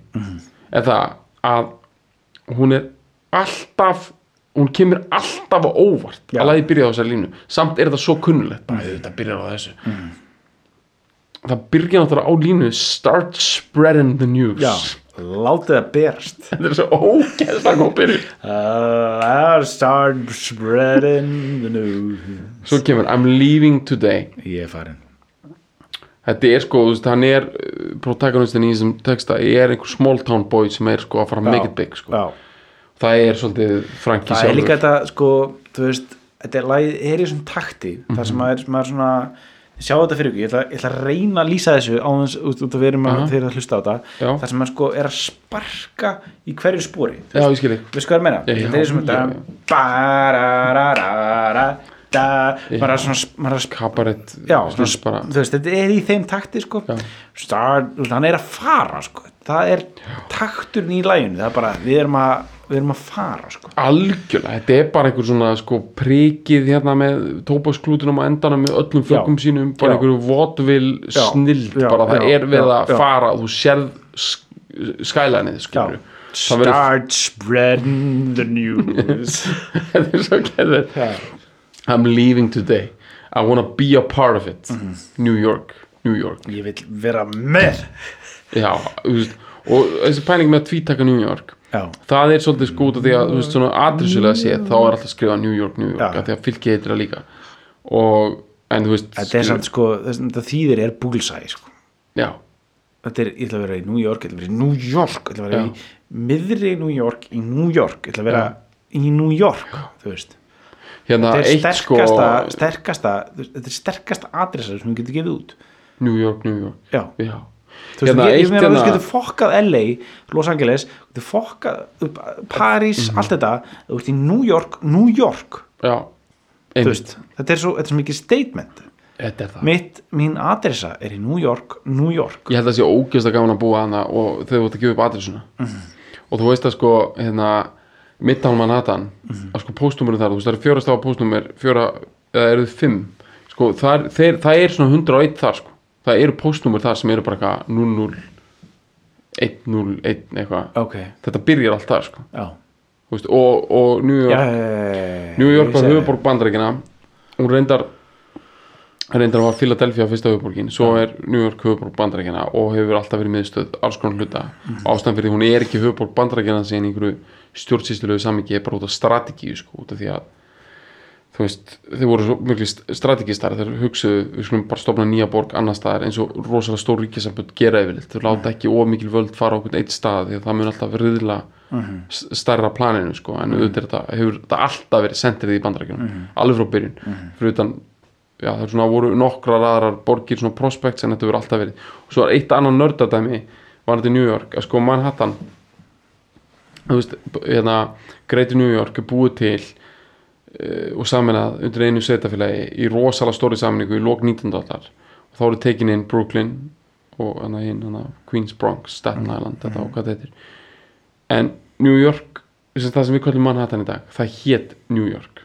S2: er það að hún er alltaf hún kemur alltaf á óvart
S3: Já.
S2: að lægi byrja á þessari línu, samt er það svo kunnulegt, bara þetta byrjar á þessu
S3: Mm.
S2: það byrja náttúrulega á línu start spreading the news
S3: já, látið að berast
S2: þetta er svo ógeðslega góð byrjun
S3: uh, I'll start spreading the news
S2: svo kemur I'm leaving today
S3: ég er farin
S2: Þetta er sko, þú veist, hann er uh, protagonistin í þessum texta, er einhver small town boy sem er sko að fara að make it big sko.
S3: já
S2: það er svolítið Franki
S3: það er
S2: sjálfur
S3: líka þetta sko þú veist, þetta er, lagið er í svona takti þar
S2: Mhm.
S3: sem maður, maður svona sjá þetta fyrir ykkur, ég ætla, ég ætla að reyna að lýsa þessu á þess út út að við erum að
S2: Aha.
S3: þeir eru að hlusta á þetta
S2: Já.
S3: þar sem maður sko er að sparka í hverju spori
S2: Já, ég skil þig.
S3: við sko erum meina,
S2: Já,
S3: þetta er svona
S2: já,
S3: þetta- barararara, da, bara svona maður er að sp-
S2: kabarett
S3: Já,
S2: þú
S3: svona,
S2: veist, bara,
S3: þú veist, þetta er í þeim takti sko. Star, þú veist, hann er að fara sko. það er takturinn í læginu það er bara, við erum að, við erum að fara sko.
S2: algjörlega, þetta er bara einhver svona sko prikið hérna með tópaksklútunum á endanum með öllum flökkum sínum bara
S3: Já.
S2: einhverju votvil
S3: Já.
S2: snild
S3: Já,
S2: bara það
S3: já,
S2: er við
S3: já,
S2: að
S3: já.
S2: fara þú sérð skælanið skilur það verður
S3: Start spreading the news
S2: þetta er svo geðið I'm leaving today I wanna be a part of it
S3: Mhm.
S2: New York, New York
S3: Ég vil vera með
S2: Já, þú veist, og þessi pæling með að tvítaka New York
S3: Já,
S2: það er svolítið sko út af því að þú veist, svona adressulega séð, þá er alltaf að skrifa New York, New York,
S3: Já.
S2: af því að fylgið heitir það líka og, en þú veist
S3: þetta er
S2: skilur-
S3: samt sko þess- þetta þýðir er búlsæði sko
S2: Já,
S3: Þetta er, ég ætla að vera í New York, ég ætla að vera í New York ég ætla að vera
S2: Já.
S3: í miðri New York í New York, ég ætla að vera í New York þú veist,
S2: hérna
S3: þetta er
S2: eitt sko
S3: sterkasta, sterkasta þú veist, þetta er sterkasta adressar sem við getum gefið út
S2: New York, New York
S3: Já,
S2: Já,
S3: þú veist, ég, ég meina að þú
S2: hérna,
S3: getur fokkað LA, Los Angeles þú getur fokkað upp- Paris,
S2: Mhm.
S3: allt þetta, þú veist í New York New York,
S2: já
S3: þú
S2: einmitt,
S3: veist, þetta er svo, þetta er svo mikið statement
S2: þetta er það
S3: mitt, mín adressa er í New York New York,
S2: ég held að það sé ógjösta gaman að búa hana og þegar þú ert að gefa upp adressuna
S3: Mhm.
S2: og þú veist að sko hérna, Midtown Manhattan
S3: Mhm.
S2: að sko póstnúmerið þar, þú veist það eru fjóra stafa póstnúmer fjóra, eða eru þið fimm sko þar, þeir, það er svona 101 þar sko, það eru póstnúmer þar sem eru bara eitthvað 00 101 eitthvað
S3: ok já,
S2: þetta byrjar allt þar sko
S3: já,
S2: Þú veist, og, og New York
S3: já, já,
S2: New York
S3: ég
S2: var
S3: segi
S2: höfuborg bandarækina hún reyndar reyndar var Philadelphia fyrsta höfuborgin svo er New York höfuborg bandarækina og hefur alltaf verið miðstöð alls konar hluta mm. ástæðan fyrir því hún er ekki höfuborg bandarækina síðan í einhverju stjórnsýstulegu samingi er bara út af strategíu sko út af því að þú veist, þeir voru svo mjög strategistar þeir hugsuðu, við skulum bara stopna nýja borg annar staðar eins og rosalega stór ríkisambund gera yfirleitt, þeir láta ekki ómikil völd fara á okkur eitt stað því að það mun alltaf riðla s- stærra planinu sko, en auðvitað er þetta, hefur þetta alltaf verið sentrið í bandarækjunum, alveg frá byrjun fyrir utan, já það er svona voru nokkrar aðrar borgir svona prospects en þetta hefur alltaf verið, og svo er eitt annað nördadæmi var þetta í New York, að sko Manhattan þú veist, b- hérna Greater New York er búið til og saminað undir einu sveitafélagi í rosalega stóri saminningu í lok 19. aldar og þá eru tekin inn Brooklyn og hana hinn, hana Queens Bronx, Staten
S3: Mhm.
S2: Island, þetta og hvað þetta heitir en New York sem það sem við kallum Manhattan í dag, það hét New York,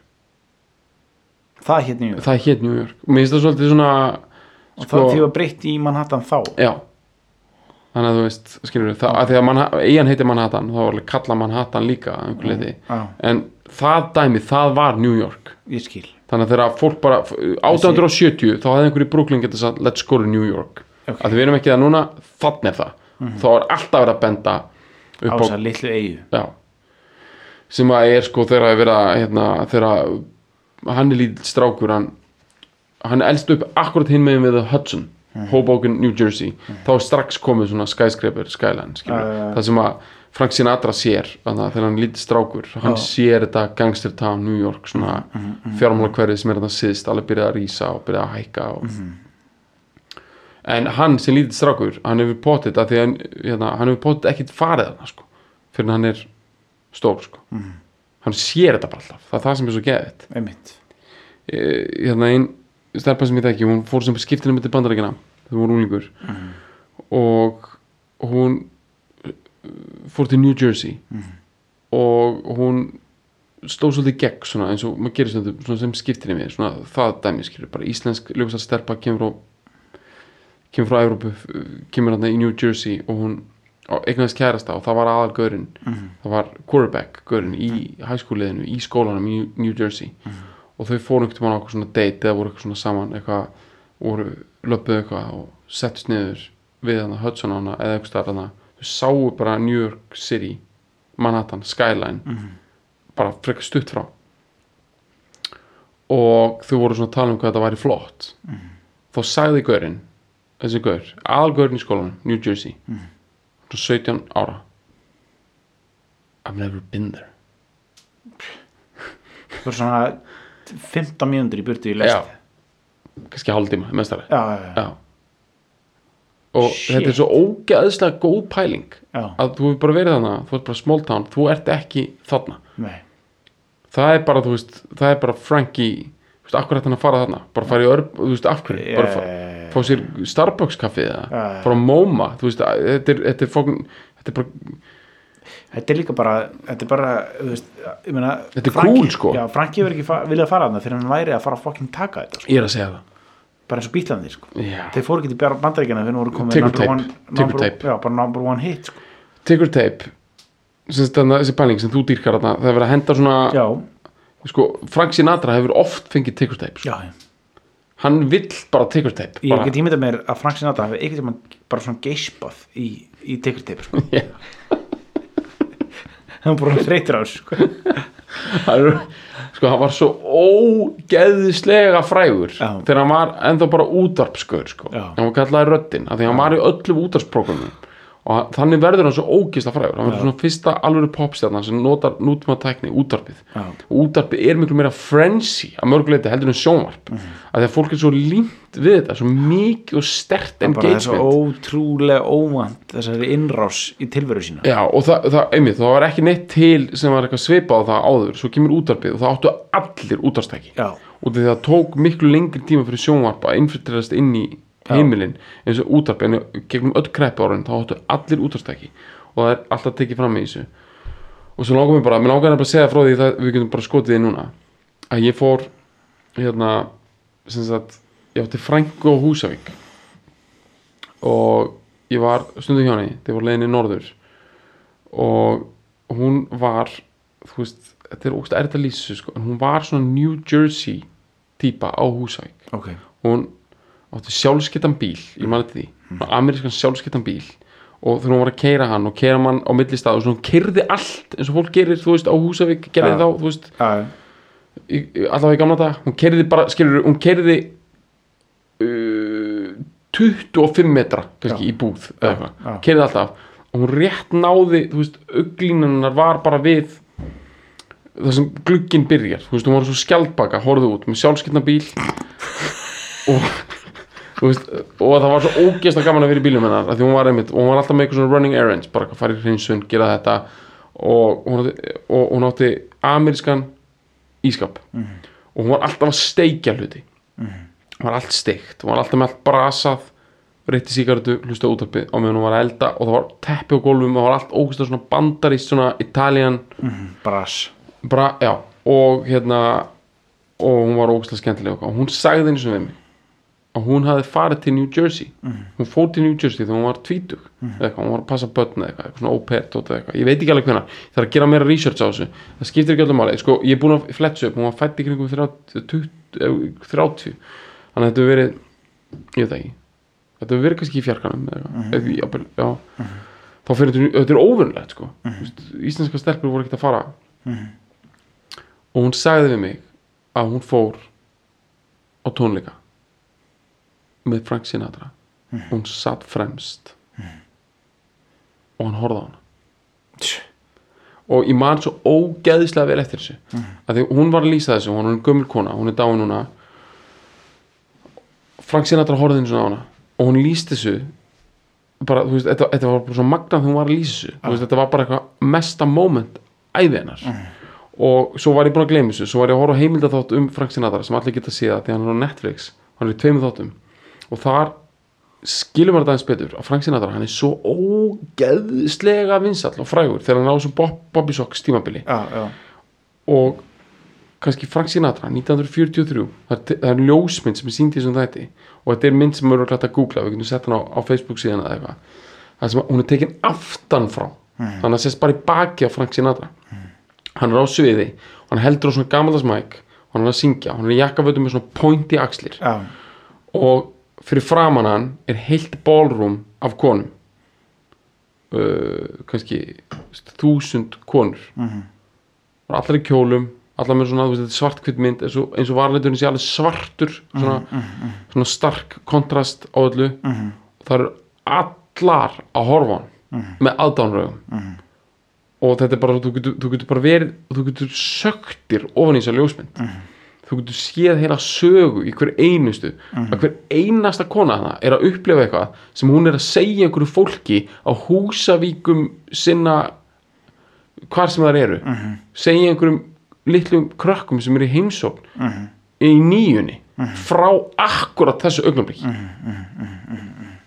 S3: það hétt New York
S2: það hét New York og mér finnst það svolítið svona
S3: og
S2: Sko-
S3: það því var breytt í Manhattan þá
S2: já þannig að þú veist, skilur við, það, að því að Manha- eyjan heiti Manhattan, þá var alveg kalla Manhattan líka að einhver leiti,
S3: Mm. já.
S2: en það dæmi, það var New York
S3: ég skil,
S2: þannig að þegar fólk bara 1870 þá hefði einhverju Brooklyn getið sagt let's go to New York
S3: Ok.
S2: að við erum ekki það núna, þannig er það þá er alltaf verið að benda
S3: á
S2: upp á,
S3: þess að litlu eigu
S2: já, sem að er sko þegar að vera hérna, þegar að hann er lítill strákur hann, hann elst upp akkurat hinn megin við The Hudson
S3: Mhm.
S2: Hoboken, New Jersey þá er strax komið svona skyscraper skyline uh,
S3: Já, já, já.
S2: það sem að Frank Sinatra sér þannig að þegar hann er lítill strákur hann sér þetta gangster town New York svona uh,
S3: Mhm,
S2: sem er þarna síðst alveg byrjað að rísa og byrjað að hækka og,
S3: Mhm.
S2: en hann sem lítill strákur hann hefur potið að því að hérna, hann hefur potið ekkit farið þarna sko fyrir hann er stór sko. hann sér þetta bara alltaf það er það sem er svo geðið
S3: einmitt
S2: Eh, hérna ein stelpa sem ég þekki hún fór sem skiptina með til bandarækina þegar hún var úlingur og hún eh, fór til New Jersey og hún stóð svolítið í gegn svona eins og maður gerir stundum svona sem skiptina með svona það dæmi skilur bara íslensk ljófisar stelpa kemur frá kemur frá Evrópu eh, kemur hann í New Jersey og hún á eignaðist kærasta og það var aðal gaurinn það var quarterback gaurinn í hæskóliðinu, í skólanum í New Jersey og þau fóru einhvern tímann á eitthvað svona date eða voru eitthvað svona saman eitthvað, voru löpuð eitthvað og settist niður við hana Hudson hana eða eitthvað starf hana þau sáu bara New York City Manhattan, Skyline bara frekar stutt frá og þau voru svona að tala um hvað þetta væri flott þá sagði gaurinn þessi gaur, aðalgaurinn í skólanum New Jersey, svona 17 ára I've never been there
S3: það var svona 15 mínútur í burtu í
S2: Já.
S3: lest
S2: kannski hálftíma, mestari
S3: já, já, já,
S2: Já Og
S3: Shit.
S2: þetta er svo ógeðslega góð pæling
S3: já,
S2: að þú hefur bara verið þarna, þú ert bara small town þú ert ekki þarna
S3: nei
S2: það er bara, þú veist, það er bara Frankie, þú veist, akkur hætti hann að fara þarna bara fara í örb, þú veist, af hverju bara fara,
S3: Eh,
S2: fá sér Starbucks kaffið eða
S3: Já.
S2: fara á MoMA, þú veist, að- þetta er þetta er, fókn, þetta er bara,
S3: þetta er líka bara þetta er bara, þú veist, ég meina
S2: Þetta er
S3: Frankie-
S2: cool, sko.
S3: já, Franki hefur ekki fa- viljað fara þarna fyrir hann væri að fara að fucking taka þetta sko.
S2: ég er að segja það
S3: bara eins og bítlandi, sko
S2: Já.
S3: þeir fóru ekki til bandaríkjana fyrir voru komið
S2: Ticker
S3: number
S2: tape,
S3: one-
S2: ticker
S3: number-
S2: tape.
S3: já, bara number one hit, sko
S2: Ticker Tape sem sagt, þarna, þessi pæling sem þú dýrkar þarna það er verið að henda svona,
S3: já,
S2: sko, Frank Sinatra hefur oft fengið Ticker Tape sko.
S3: já, já
S2: hann vill bara Ticker Tape
S3: ég
S2: bara.
S3: hef ekki tímyndað mér að Frank Sinatra hafi einhvern tímann bara svona geispað í, í tekurteipi sko.
S2: Já.
S3: hann bara hreytir á þessu sko.
S2: hann, er- sko, hann var svo ógeðislega frægur
S3: Já.
S2: þegar hann var ennþá bara útarpskur sko.
S3: Já.
S2: hann var kallaði röddin af því hann var í öllum útarpsprogramum og hann- þannig verður hann svo ógeðslega frægur hann verður svona fyrsta alvöru popstjarnan sem notar nútíma tækni, útarpið
S3: Já.
S2: og útarpið er miklu meira frenzy að mörguleiti heldur en sjónvarp
S3: Mhm.
S2: af því að fólk er svo límt við þetta svo mikið og stert
S3: bara þessu
S2: engagement
S3: ótrúlega óvand þessari innrás í tilveru sína
S2: Já, og það, það, einmitt, það var ekki neitt til sem var eitthvað svipað á það áður svo kemur útarpið og það áttu allir útarstæki
S3: Já.
S2: og því það tók miklu lengri tíma fyrir sjónvarp að innfyrtirast inn í heimilin eins og útarpið en gegnum öll kreppu árin þá áttu allir útarstæki og það er alltaf tekið fram í þessu og svo langar mér bara, mér langar að bara að segja frá því það, við getum bara skotið því núna að ég fór hérna sem sagt, ég átti frængu á Húsavík og ég var stundum hjá henni þegar ég var leiðinni norður og hún var þú veist, þetta er ógst erfitt að lýsa þessu, sko, en hún var svona New Jersey típa á Húsavík
S3: ok,
S2: hún átti sjálfskettan bíl ég mani til því, mm. amerískan sjálfskettan bíl og þegar hún var að keira hann og keira mann á milli stað og svona hún kerði allt eins og fólk gerir, þú veist, á Húsavík gerði
S3: Ja.
S2: þá, þú veist,
S3: já,
S2: í, í- allavega í gamla dag hún kerði bara, skilur, hún kerði uh, 25 metra, kannski, í búð eða
S3: já.
S2: eitthvað, kerði alltaf og hún rétt náði, þú veist, auglínunnar var bara við það sem glugginn byrjar, þú veist, hún var svo skjaldbaka horfðu út, með sjálfskeitna bíl og þú veist, og það var svo ógeðslega gaman að vera í bílum hennar af því hún var einmitt, og hún var alltaf með eitthvað svona running errands bara að fara í hreinsun, gera þetta og hún átti, og hún átti amerískan ískap og hún var alltaf að steikja hluti hún var allt steikt, hún var alltaf með allt brasað reytti síkartu, hlusta útarpið á meðan hún var að elda og það var teppi á gólfum og það var allt ógeðslega svona bandarist svona Italian
S3: brass
S2: bara, já, og hérna og hún var ógæslega skemmtileg og eitthvað. hún sagði eins og við mig að hún hafði farið til New Jersey hún fór til New Jersey þegar hún var tvítug eða eitthvað, hún var að passa börn eða eitthvað, eitthvað svona ópert og eitthvað, ég veit ekki alveg hvenær ég þarf að gera meira research á þessu, það skiptir ekki öllum máli sko, ég er búin að fletsa upp, hún var fætt í kringum 30, 20, 30 þannig að þetta hefur verið ég veit ekki, þetta hefur verið kannski í fjarkanum eða eitthvað, mm -hmm. jafnvel, já þá fyrir þetta, þetta er óvunlegt sko mm -hmm. íslenska stelpur voru ekkert að fara og hún sagði við mig að hún fór á tónleika með Frank Sinatra og hún satt fremst og hann horfði á hana
S3: Tch.
S2: og ég man svo ógeðislega vel eftir þessu mm. að því hún var að lýsa þessu, hún er gömul kona hún er dáin núna Frank Sinatra horfði eins og á hana og hún lýst þessu bara, þú veist, þetta, þetta var bara svo magnað þegar hún var að lýsa þessu, þú veist, þetta var bara eitthvað mesta moment æði hennar og svo var ég búin að gleyma þessu svo var ég að horfa á heimildaþátt um Frank Sinatra sem allir geta séð að því að hann er á Netflix hann er í tveimur þáttum og þar skilum maður þetta aðeins betur að Frank Sinatra hann er svo ógeðslega vinsall og frægur þegar hann á þessu Bob, Bobby Socks tímabili
S3: já, já,
S2: og kannski Frank Sinatra 1943, það er, það er ljósmynd sem er sínd í þessum þætti og þetta er mynd sem eru glætt að googla, við getum sett hann á, á Facebook síðan eða eitthvað, það sem að hún er tekin aftan frá, þannig að sést bara í baki á Frank Sinatra hann er á sviði, hann heldur á svona gamaldags mæk og hann er að syngja, hann er í jakkafötum með svona point í axlir
S3: já,
S2: og fyrir framan hann er heilt ballroom af konum uh, kannski þúsund konur og allar í kjólum allar með svona þú veist, þetta er svartkvitt mynd eins og, eins og varleiturinn sé alveg svartur svona, svona stark kontrast á öllu og það eru allar að horfa á hann með aðdánraugum og þetta er bara, þú getur, þú getur bara verið þú getur söktir ofan í þessa ljósmynd þú getur séð heila sögu í hver einustu að hver einasta kona hana er að upplifa eitthvað sem hún er að segja einhverju fólki á húsavíkum sinna hvar sem þar eru segja einhverjum litlum krökkum sem eru í heimsókn í nýjunni frá akkurat þessu augnablik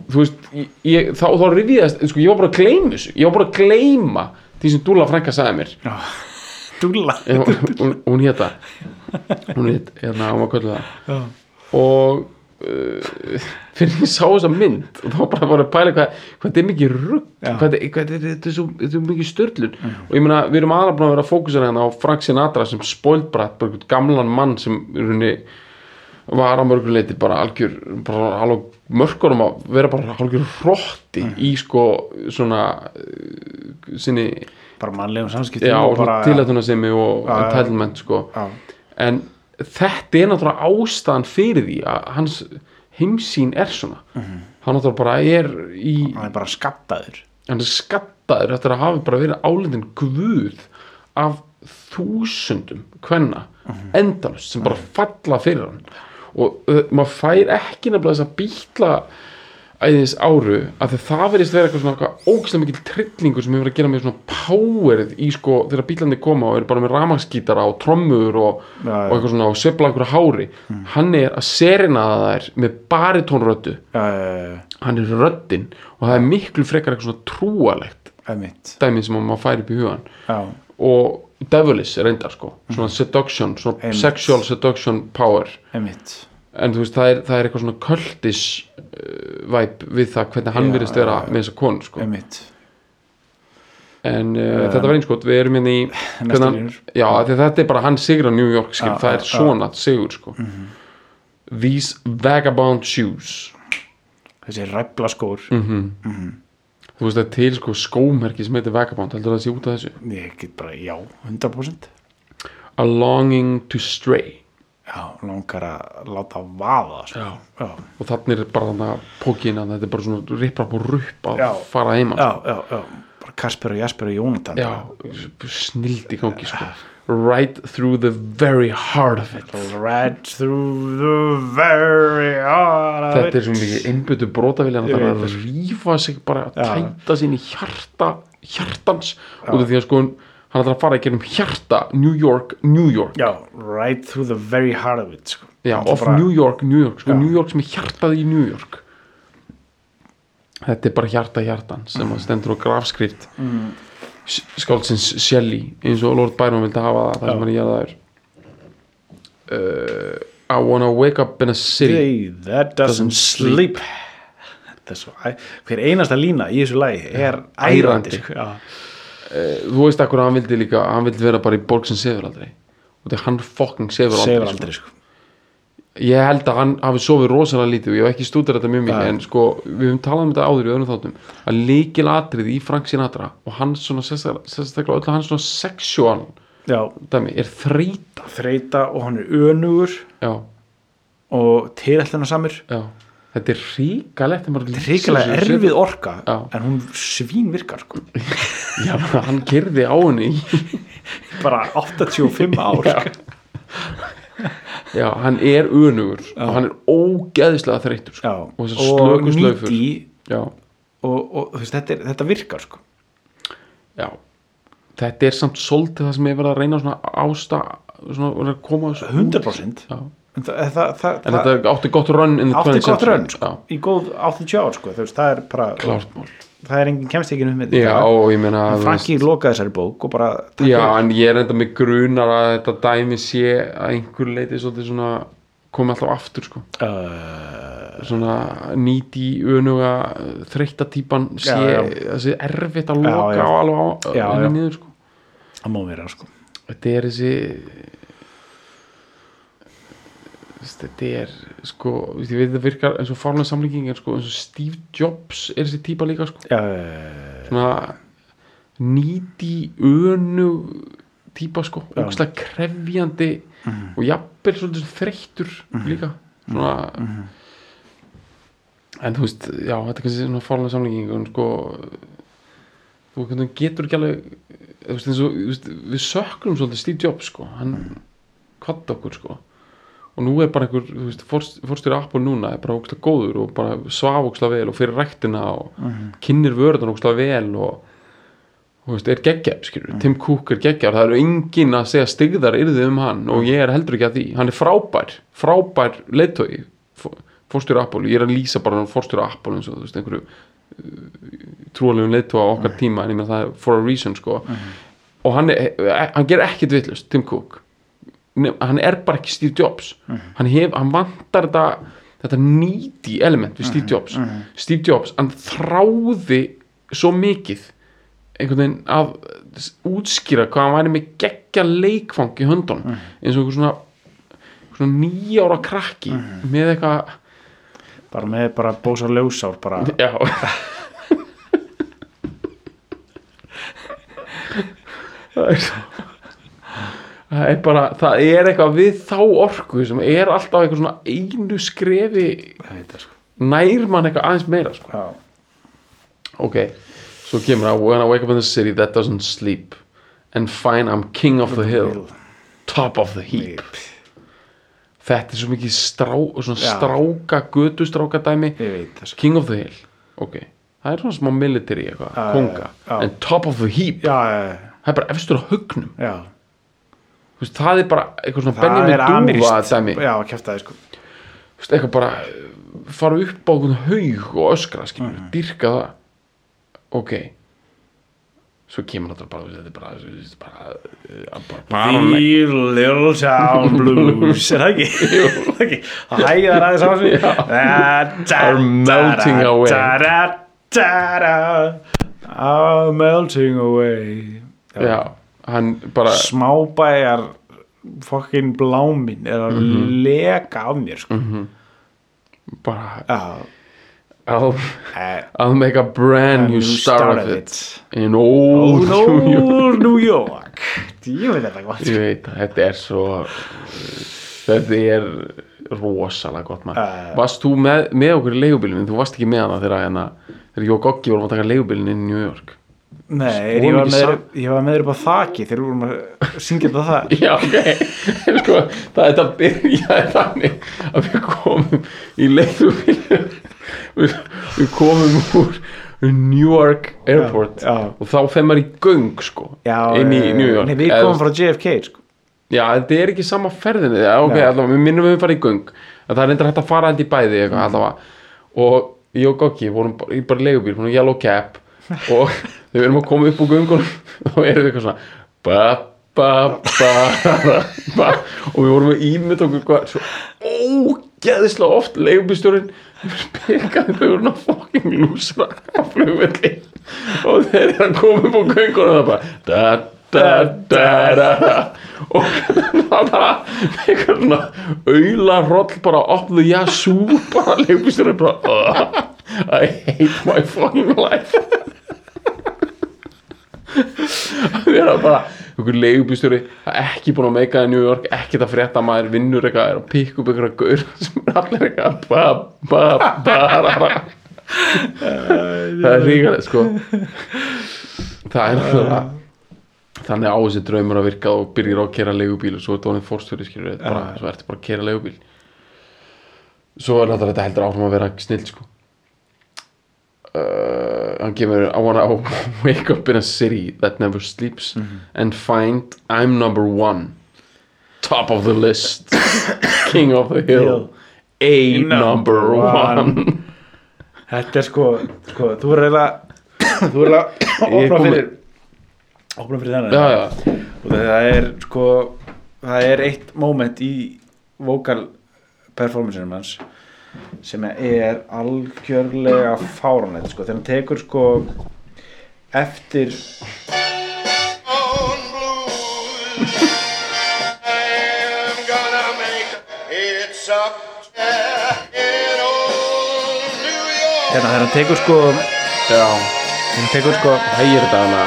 S2: þú veist ég, ég- þá, þá rifiðast, sko, ég var bara að gleyma þessu ég var bara að gleyma því sem Dúla frænka sagði mér
S3: já. dúlla
S2: Eh, hún, hún- hún hét það hún hét, hérna, hún var kvöldu
S3: Já.
S2: það og uh, fyrir ég sá þessa mynd og þá var bara bara að pæla hvað hvað þetta er mikið rugg
S3: Já.
S2: hvað þetta er- hvað þetta er þetta er svo þetta er mikið störlun og ég meina, við erum aðra búin að vera að fókusera hérna á Frank Sinatra sem spoilbrætt bara einhvern gamlan mann sem í rauninni var á mörgur leiti bara algjör bara alveg mörgunum að vera bara algjör hrótti í sko svona eh, sinni
S3: bara mannlegum samskiptum
S2: já,
S3: og
S2: bara,
S3: bara,
S2: tilætuna sem ég og
S3: Já, já.
S2: entitlement sko.
S3: Já.
S2: en þetta er náttúrulega ástæðan fyrir því að hans heimsýn er svona
S3: Mhm.
S2: hann náttúrulega bara er í
S3: hann er bara skattaður
S2: hann er skattaður eftir að hafa bara verið álindin guð af þúsundum kvenna
S3: Mhm.
S2: endalust sem bara falla fyrir hann og uh, maður fær ekki nefnilega þess að býtla æðis áru af því það verðist vera eitthvað svona eitthvað ógislega mikil trillingur sem hefur verið að gera með svona powerið í sko þegar bílandi koma og eru bara með ramaskítara og trommur og,
S3: Já, já. Mhm.
S2: og eitthvað svona og sveifla einhverju hári hann er að serinaða þær með baritónröddu
S3: uh,
S2: hann er röddinn og það er miklu frekar eitthvað svona trúalegt
S3: emitt
S2: dæmi sem maður fær upp í hugan
S3: já,
S2: og devilish er reyndar sko svona seduction, svona
S3: Mhm. Einmitt.
S2: sexual seduction power
S3: emitt
S2: en þú veist það er, það er eitthvað svona cultish uh, vibe við það hvernig hann
S3: Já,
S2: virðist vera með þessa konu sko
S3: emitt
S2: en uh, þetta var einskot, við erum hérna í hvernig hann-
S3: línur.
S2: já, af því að þetta er bara hann sigur á New York skip,
S3: Já,
S2: það
S3: já, Mhm.
S2: er svona sigur sko these vagabond shoes
S3: þessi ræfla skór
S2: Mm. þú veist það er til sko skómerki sem heitir vagabond, heldur það að sé út af þessu
S3: ég get bara, já, 100%
S2: a longing to stray
S3: já, langar að láta vaða sko.
S2: Já.
S3: já,
S2: og þannig er bara þannig að pókina þetta er bara svona riprap og rupp að
S3: Já.
S2: fara heima
S3: já, já, já. bara Kasper og Jasper og Jónatan
S2: já, snild í gangi sko. right through the very heart of it
S3: Right through the very heart of
S2: þetta er
S3: it.
S2: svo mikið innbyttu brotaviljan
S3: Ég
S2: að það
S3: veit
S2: er að rífa sig bara að
S3: Já.
S2: tæta sín í hjarta hjartans út af því að sko hann ætlar að fara í gerum hjarta New York, New York
S3: Já, right through the very heart of it sko.
S2: Já,
S3: Þetta er
S2: of
S3: bara-
S2: New York, New York sko, New York sem er hjartað í New York Þetta er bara hjarta hjartan sem
S3: Mm.
S2: að stendur á grafskrift mm. skáldsins Shelley eins og Lord Byron vildi hafa það það sem hann er jarðaður uh, I wanna wake up in a city
S3: Hey, that doesn't sleep Þetta er svo, æ- hver einasta lína í þessu lagi er
S2: Ærandi.
S3: ærandi sko. já,
S2: Þú veist akkur að hann vildi líka hann vildi vera bara í borg sem sefur aldrei og þetta er hann fucking sefur aldrei,
S3: segir
S2: sko.
S3: aldrei sko.
S2: ég held að hann hafi sofið rosalega lítið og ég hef ekki stúdur þetta mjög mikið en sko við höfum talað um þetta áður í öðrum þáttum að líkil atrið í Frank Sinatra og hans svona sérstaklega sérstaklega öll hans svona sexual
S3: já,
S2: dæmi er þrýta
S3: þreita og hann er önugur
S2: já,
S3: og tilætlunarsamur
S2: já þetta er ríkalegt þetta
S3: hrikalega erfið orka
S2: Já.
S3: en hún svín virkar sko.
S2: já, hann gerði á henni í-
S3: bara 85 ár sko.
S2: já, hann er önugur og hann er ógeðislega
S3: já.
S2: þreytur sko. og þessar slöku slöfur
S3: nýti
S2: já,
S3: og, og þú veist, þetta, er, þetta virkar sko.
S2: já þetta er samt svolítið það sem ég verið að reyna svona ásta svona, svona koma þessu út.
S3: 100%
S2: Já.
S3: en það, það, það,
S2: en þetta átti gott rönn
S3: átti gott raun sko, í góð 80 ár sko, þú veist, það er bara
S2: klártmál
S3: það er engin kemst ekki um með
S2: já og ég meina
S3: En
S2: þú
S3: Franki lokaði þessari bók og bara
S2: veist- já en ég er enda með grunar að þetta dæmi sé að einhver leiti svolítið svona komi alltaf aftur sko
S3: uh,
S2: svona nýti önuga þreytta típan sé
S3: Já, já.
S2: þessi erfitt að
S3: Já,
S2: loka
S3: já.
S2: og alveg á,
S3: Já,
S2: henni
S3: já.
S2: niður sko
S3: það má vera sko
S2: þetta er þessi Þess- þetta er sko, þú veist, ég veit það virkar eins og fárlega samlíking en sko eins og Steve Jobs er þessi típa líka sko
S3: uh,
S2: svona nýti önu típa sko, ógstlega krefjandi og jafnvel svolítið þreyttur líka svona en þú veist, já, þetta er kannski svona fórlega samlíking en sko þú hvernig getur ekki alveg þú veist, eins og, þú veist, við söknum svolítið Steve Jobs sko, hann mm. okkur sko og nú er bara einhver, þú veist, forst- forstjóri Apple núna er bara ógstlega góður og bara svaf ógstlega vel og fyrir ræktina og kynir vörðan ógstlega vel og þú veist, er geggjaf, skilur, Tim Cook er geggjaf það eru engin að segja stigðar yrði um hann og ég er heldur ekki að því, hann er frábær frábær leittói forstjóri Apple, ég er að lýsa bara forstjóri Apple eins og, þú veist, einhverju uh, trúalegum leittóa okkar tíma en ég með það er for a reason, sko og hann, er, eh, hann ger ekkit vitlust, Tim Cook Nef- hann er bara ekki Steve Jobs hann, hef, hann vantar þetta þetta nýti element við Steve Jobs Steve Jobs, hann þráði svo mikið einhvern veginn að útskýra hvað hann væri með geggja leikfang í höndun eins og einhver svona, svona nýjára krakki með eitthvað
S3: bara með bara bósa ljósár bara
S2: já það er svo það er bara, það er eitthvað við þá orku sem er alltaf eitthvað svona einu skrefi
S3: það veit það sko
S2: nær mann eitthvað aðeins meira sko.
S3: já,
S2: ok, svo kemur að when I wake up in the city that doesn't sleep and fine I'm king of the hill top of the heap þetta er svo mikið strá, svona
S3: Já.
S2: stráka götustráka dæmi
S3: ég veit það sko
S2: King of the Hill ok, það er svona smá military eitthvað,
S3: Já,
S2: konga
S3: já, já.
S2: en top of the heap,
S3: já, já,
S2: það er bara efstur á haugnum
S3: já, já.
S2: Þú veist, það er bara eitthvað svona
S3: það er
S2: Benjamin Dúva
S3: amirist
S2: dæmi,
S3: já, kæftaði sko
S2: Þú veist, eitthvað bara eh, fara upp á einhvern haug og öskra skilur, dýrka það ok svo kemur náttúrulega bara, þú veist, þetta er bara, þú veist, bara, eh, bara, bara
S3: The Little Town Blues er það ekki? Er það ekki? það hægðar aðeins á þessu
S2: Are melting away.
S3: are melting away
S2: já, hann bara
S3: smábæjar fokkin blámin er að
S2: Mhm.
S3: leka af mér sko.
S2: bara,
S3: Já,
S2: I'll,
S3: eh,
S2: I'll make a brand new star of it in
S3: Oh
S2: old
S3: no,
S2: New York
S3: New York Ég veit þetta gott
S2: ég veit, það, þetta er svo þetta er rosalega gott mann
S3: Já, já, já.
S2: varst þú með, með okkur í leigubílinu þú varst ekki með hana þegar hana, þegar ég og Goggi vorum að taka leigubílinu inn í New York
S3: Nei,
S2: Svo
S3: ég var,
S2: mikið
S3: með,
S2: sam-
S3: ég var með upp á þaki þegar við vorum að syngja þetta það
S2: já, ok sko, það er þetta byrjaði þannig að við komum í leigubílinu við, við komum úr New York Airport
S3: Já, já.
S2: og þá fer maður í göng sko,
S3: Já,
S2: inn í
S3: eh,
S2: New York
S3: Nei, við
S2: Eða,
S3: komum frá JFK sko.
S2: Já, þetta er ekki sama ferðinni Já, ok, allavega, við minnum við farið í göng en það er reyndar hægt að fara held í bæði eitthvað, allavega og ég og Gokki vorum bara, í bara leigubíl, vorum yellow cap og þegar við erum að koma upp úr göngunum þá erum við eitthvað svona ba, ba, ba, ba og við vorum að ímynda okkur hvað svo ógeðislega oft leigubílstjórinn spekaði þau voru ná fucking lúsra á flugvelli og þegar hann kom upp á göngunum það bara da, da, da, da, da og það bara eitthvað svona auðlaroll bara up the yazoo bara leigubílstjórinn bara "Ugh, I hate my fucking life við erum bara einhver leigubílstjóri ekki búin að meika í New York ekkert að frétta maður vinnur eitthvað er að pikka upp einhverja gaur sem er allir eitthvað ba, ba, ba, ra, ra. það er ríkalegt sko það er náttúrulega þannig á þessi draumur að virka og byrjir á að kera leigubíl og svo er dónið fórstjóri skilur þetta er bara, svo ertu bara að kera leigubíl svo er náttúrulega þetta heldur áfram að vera snill sko uh, hann kemur I wanna wake up in a city that never sleeps and find I'm number one top of the list king of the hill a number
S3: one.
S2: one
S3: Þetta er sko, sko þú er eiginlega þú er eiginlega
S2: Ég er
S3: opna
S2: komin.
S3: fyrir opna fyrir þennan
S2: já já
S3: og það er sko það er eitt moment í vokal performanceinu hans sem er algjörlega fáránlegt sko þegar hann tekur sko eftir
S4: on blues. I'm gonna make it's up there in old New York.
S3: hérna þegar hann tekur sko hann
S2: já
S3: tekur sko
S2: hægir þetta hana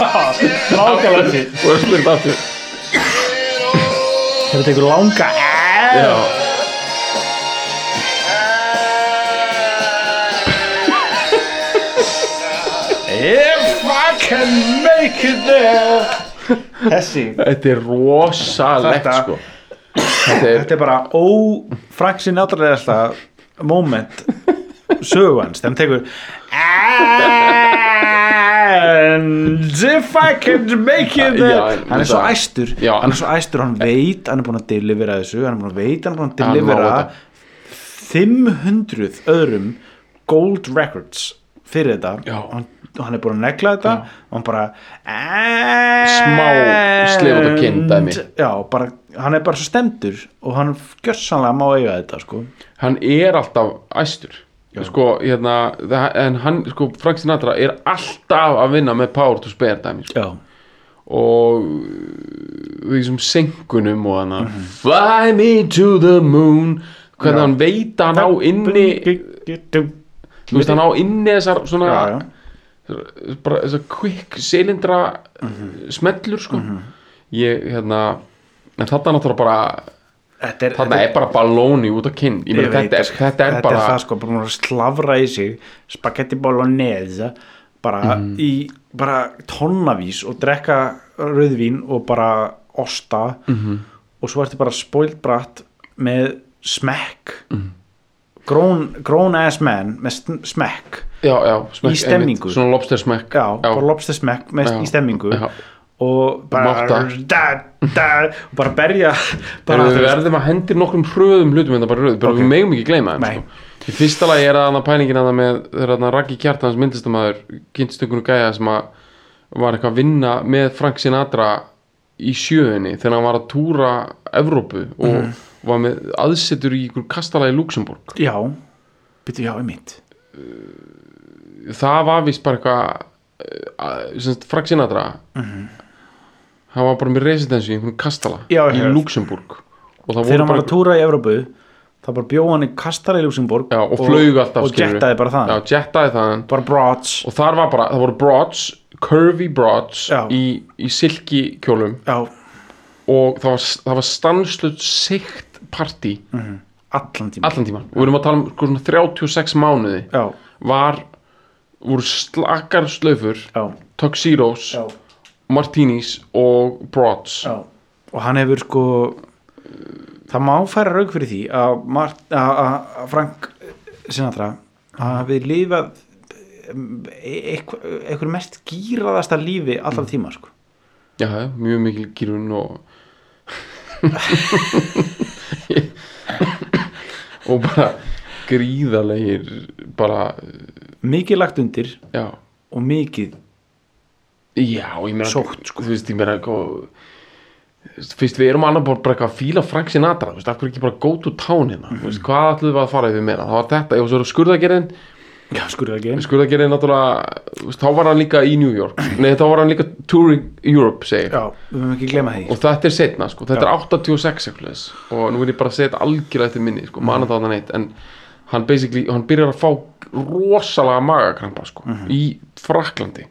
S3: nákvæmlega sér
S2: og það spyrir aftur
S3: þegar hann tekur langa
S2: já
S3: If I can make it there þessi
S2: þetta er rosalegt
S3: Þetta-
S2: sko þetta er
S3: þetta er bara ófraksin náttúrulega moment sögans, þannig tekur and if I could make it
S2: Já,
S3: there
S2: en
S3: hann er svo
S2: það-
S3: æstur
S2: Já.
S3: hann er svo æstur, hann veit, hann er búin að delivera þessu hann er búin að veit, hann er búin að
S2: Hann má
S3: delivera
S2: þetta.
S3: 500 öðrum gold records fyrir þetta
S2: Já.
S3: hann, hann er búin að negla þetta og hann bara
S2: Smá slefað og kinn dæmi.
S3: And- já, bara, hann er bara svo stemdur og hann gjörsanlega má eiga þetta sko.
S2: hann er alltaf æstur sko, hérna, það- en hann, sko, Frank Sinatra er alltaf að vinna með Power to Spare dæmi, sko.
S3: já,
S2: og við sem senkunum og hann
S3: Mhm.
S2: Fly me to the moon hvernig hann veit að hann á inni þú veist, hann á inni þessar svona
S3: já, já.
S2: bara þessar quick silindra smellur, sko
S3: Mhm.
S2: ég, hérna, en þetta náttúrulega bara
S3: þetta er,
S2: þarna er bara balóni út á kinn ég meina,
S3: Ég veit,
S2: þetta, er, þetta er bara
S3: það sko, bara að slavra í sig spagetti bolognese bara
S2: Mhm.
S3: í bara tonnavís og drekka rauðvín og bara osta
S2: Mhm.
S3: og svo ertu bara spoilt bratt með smekk
S2: Mhm.
S3: grown, grown ass man með sn- smekk
S2: já, já, smekk,
S3: Í stemningu.
S2: einmitt, svona lobster smekk
S3: já, bara lobster smekk með,
S2: Já.
S3: í stemmingu
S2: Já.
S3: og bara
S2: Mátta.
S3: da, da, og bara berja bara,
S2: bara við verðum að hendir nokkrum hröðum hlutum hérna bara röð, bara
S3: Ok.
S2: við megum ekki gleyma þeim
S3: Nei.
S2: sko. í fyrsta lagi er að pælingin að það með þegar að Raggi Kjartans myndistamæður kynstökunum gæja sem að var eitthvað að vinna með Frank Sinatra í sjöunni þegar hann var að túra Evrópu og
S3: Mhm.
S2: var með aðsetur í ykkur kastala í Luxemburg
S3: já, byrju já, einmitt
S2: það var vist bara eitthvað eh, að- sem sagt, Frank Sinatra
S3: Mhm.
S2: hann var bara með residensi í einhvern kastala
S3: Já,
S2: í
S3: já.
S2: Luxemburg og það
S3: þegar
S2: voru
S3: hann var
S2: bara
S3: að túra í Evrópu þá bara bjóð hann í kastara í Luxemburg
S2: já, og, flög alltaf
S3: og
S2: skilurðu.
S3: jettaði bara það
S2: já, jettaði þaðan
S3: bara broads
S2: og þar var bara, það voru broads curvy broads
S3: Já.
S2: í, í silki kjólum
S3: já,
S2: og það var, það var stanslut sikt partí
S3: Mhm. allan tíma
S2: allan tíman og við erum að tala um sko svona 36 mánuði
S3: já,
S2: var, voru slakar slöfur
S3: já,
S2: tuxedos,
S3: já,
S2: martinis og broads
S3: já og hann hefur sko það má færa raug fyrir því að, Mart, að, að að Frank Sinatra að hafi lifað mm, eitthvað eitthvað mest gýraðasta lífi allra tíma sko
S2: já, já, mjög mikil gyrun og og bara gríðalegir bara,
S3: mikið lagt undir
S2: já
S3: og mikið
S2: Já, ég meina
S3: Sótt, sko.
S2: Þú veist, ég meina hvað- þú veist, Fyrst við erum annað bara bara eitthvað að fíla Frank Sinatra Þú veist, af hverju ekki bara go to town hérna Þú veist, hvað ætlum við að fara yfir meira Það var þetta, ég var svo skurðagerinn
S3: já, skurðu ekki eins
S2: Skurðagerinn náttúrulega, þú veist, þá var hann líka í New York Nei, þá var hann líka touring Europe, segir
S3: já, við höfum ekki glemma því
S2: Og þetta er setna, sko, þetta er 86 eitthvað svoleiðis. sko. Og nú er ég bara að segja þetta algjörlega eftir minni, sko, manna þarna neitt En hann basically, hann byrjar að fá rosalega magakrampa, sko Í Fraklandi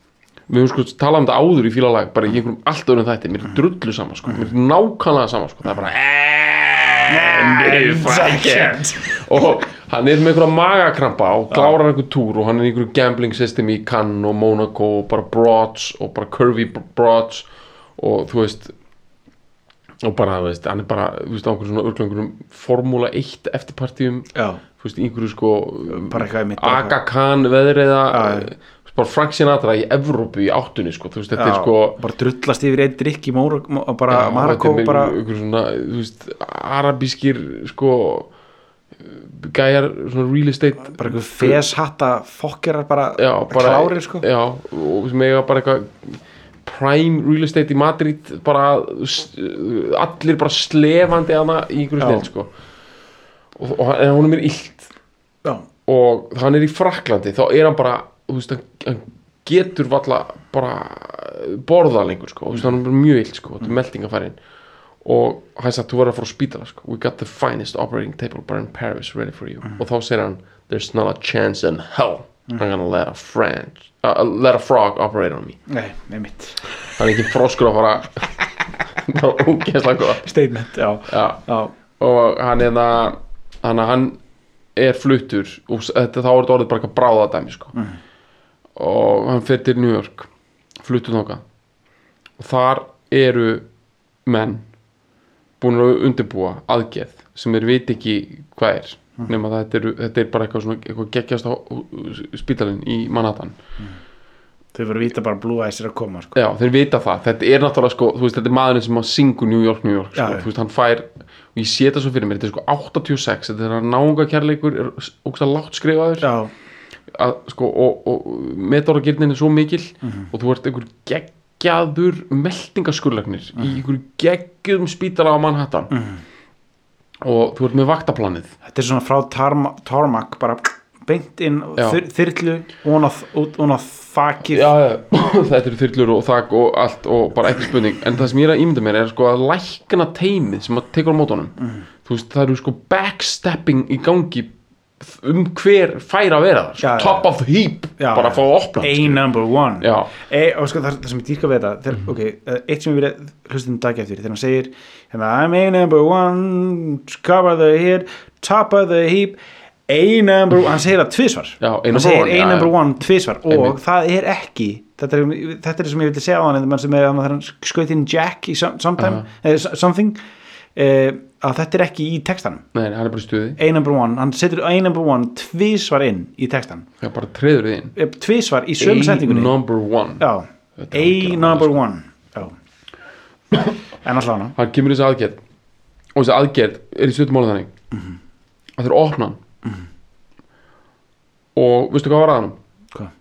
S2: við höfum sko talað um þetta áður í fílalag bara í einhverjum allt öðrum þætti, mér er drullu sama sko, mér er nákvæmlega sama sko, það er bara
S3: And I can't.
S2: og hann er með einhverja magakrampa og klárar einhver túr og hann er í einhverju gambling system í Cannes og Monaco og bara broads og bara curvy br- broads og þú veist og bara, þú veist, hann er bara, þú veist, á einhverjum svona örglöngurum Formúla 1 eftirpartíum
S3: já
S2: þú veist, í einhverju sko
S3: Bara eitthvað einmitt, bara
S2: Aga Khan veðriða
S3: Já, já.
S2: eh, bara Frank Sinatra í Evrópu í áttunni sko, þú veist, þetta er
S3: Já,
S2: sko
S3: bara drullast yfir einn drikk í Móra, Mó- bara
S2: Já,
S3: Marakó
S2: þetta er
S3: bara,
S2: einhver svona, þú veist, arabískir sko gæjar, svona real estate
S3: bara einhver feshatta fokkerar bara,
S2: já, bara
S3: klárir sko
S2: já, og sem eiga bara eitthvað prime real estate í Madrid bara s- allir bara slefandi hana í einhverju
S3: Já.
S2: snill sko og, og hann- en hún er mér illt
S3: já,
S2: og hann er í Fraklandi þá er hann bara, þú veist, hann, hann getur valla bara borða lengur sko, þú veist, hann er bara mjög illt sko, þetta er meldingafærin og hann sagði, þú verður að fór á spítala sko, we got the finest operating table bar in Paris ready for you og þá segir hann, there's not a chance in hell I'm gonna let a, French, uh, let a frog operate on me
S3: nei, nei mitt
S2: það er ekki froskur að fara það var ógeðslega góð
S3: statement, já,
S2: já
S3: já,
S2: og hann er það hann, hann er fluttur og s- þetta, þá er þetta orðið bara eitthvað bráðadæmi sko. og hann fyrir til New York fluttur þóka og þar eru menn búin að undirbúa aðgerð sem þeir veit ekki hvað er nema það þetta, eru, þetta er bara eitthvað, svona, eitthvað geggjast á spítalinn í Manhattan
S3: þau voru að vita bara Blue Eyes er að koma sko.
S2: Já, þeir vita það, þetta er náttúrulega sko, þú veist, þetta er maðurinn sem að syngu New York, New York, sko,
S3: Já, já.
S2: þú veist, hann fær og ég sé þetta svo fyrir mér, þetta er sko 86 þetta er hann náunga kærleikur, er ógst að látt skrifaður,
S3: já,
S2: að, sko, og, og metoragirnin er svo mikil
S3: Mhm.
S2: og þú ert einhver geggjaður meldingaskurlegnir
S3: Mhm.
S2: í einhver geggjum spítala á Manhattan og þú ert með vaktaplanið
S3: þetta er svona frá tarma, Tarmac bara beint inn
S2: Já.
S3: þyr, þyrlu og hún á þakir
S2: já, já, þetta eru þyrlur og þak og allt og bara ekki spurning en það sem ég er að ímynda mér er sko að lækna teimið sem að tekur á mótunum þú veist það eru sko backstepping í gangi um hver fær að vera það sko,
S3: Já, já.
S2: top of the heap
S3: Já,
S2: bara
S3: já.
S2: að fá að opna
S3: A number one
S2: Já. Mm.
S3: e, og sko, það, það sem ég dýrka við þetta þeir, ok, eh, eitt sem ég vilja hlusta um dag eftir þegar hann segir hérna, I'm A number one top of the heap top of the heap A number one, hann segir það tvisvar
S2: Já, A number
S3: hann segir
S2: one,
S3: A
S2: já,
S3: number
S2: já.
S3: one tvisvar og
S2: Einmitt.
S3: það er ekki þetta er, þetta er sem ég vilja segja á hann en það sem er að hann skauði inn Jack í some, sometime, uh something uh, að þetta er ekki í textanum
S2: nei, nei, hann er bara í stuði,
S3: A number one, hann setur A number one tvisvar inn í textan
S2: það er bara treður þið inn
S3: Eh, tvisvar í sömu setningunni
S2: number one
S3: já,
S2: Þetta
S3: A
S2: er algjörlega
S3: number one já en alltaf hana
S2: hann kemur í þessi aðgerð og þessi aðgerð er í stuttumálið þannig
S3: Mhm.
S2: að þeir opna hann og veistu hvað var að hann?
S3: Hvað?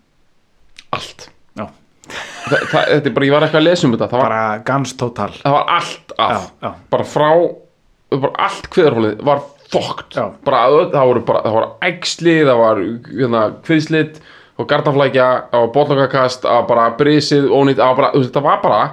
S2: allt
S3: já,
S2: Þa, það, þetta er bara, ég var eitthvað að lesa um þetta það var,
S3: bara gans total
S2: það var allt að
S3: Já, já.
S2: bara frá, bara allt kveðarhólið var fokkt
S3: Já.
S2: bara, öll- það voru bara, það voru æxli það var hérna, kviðslit og gardaflækja, það var bollokakast það var bara brisið, ónýtt það var bara, þú veist, þetta var bara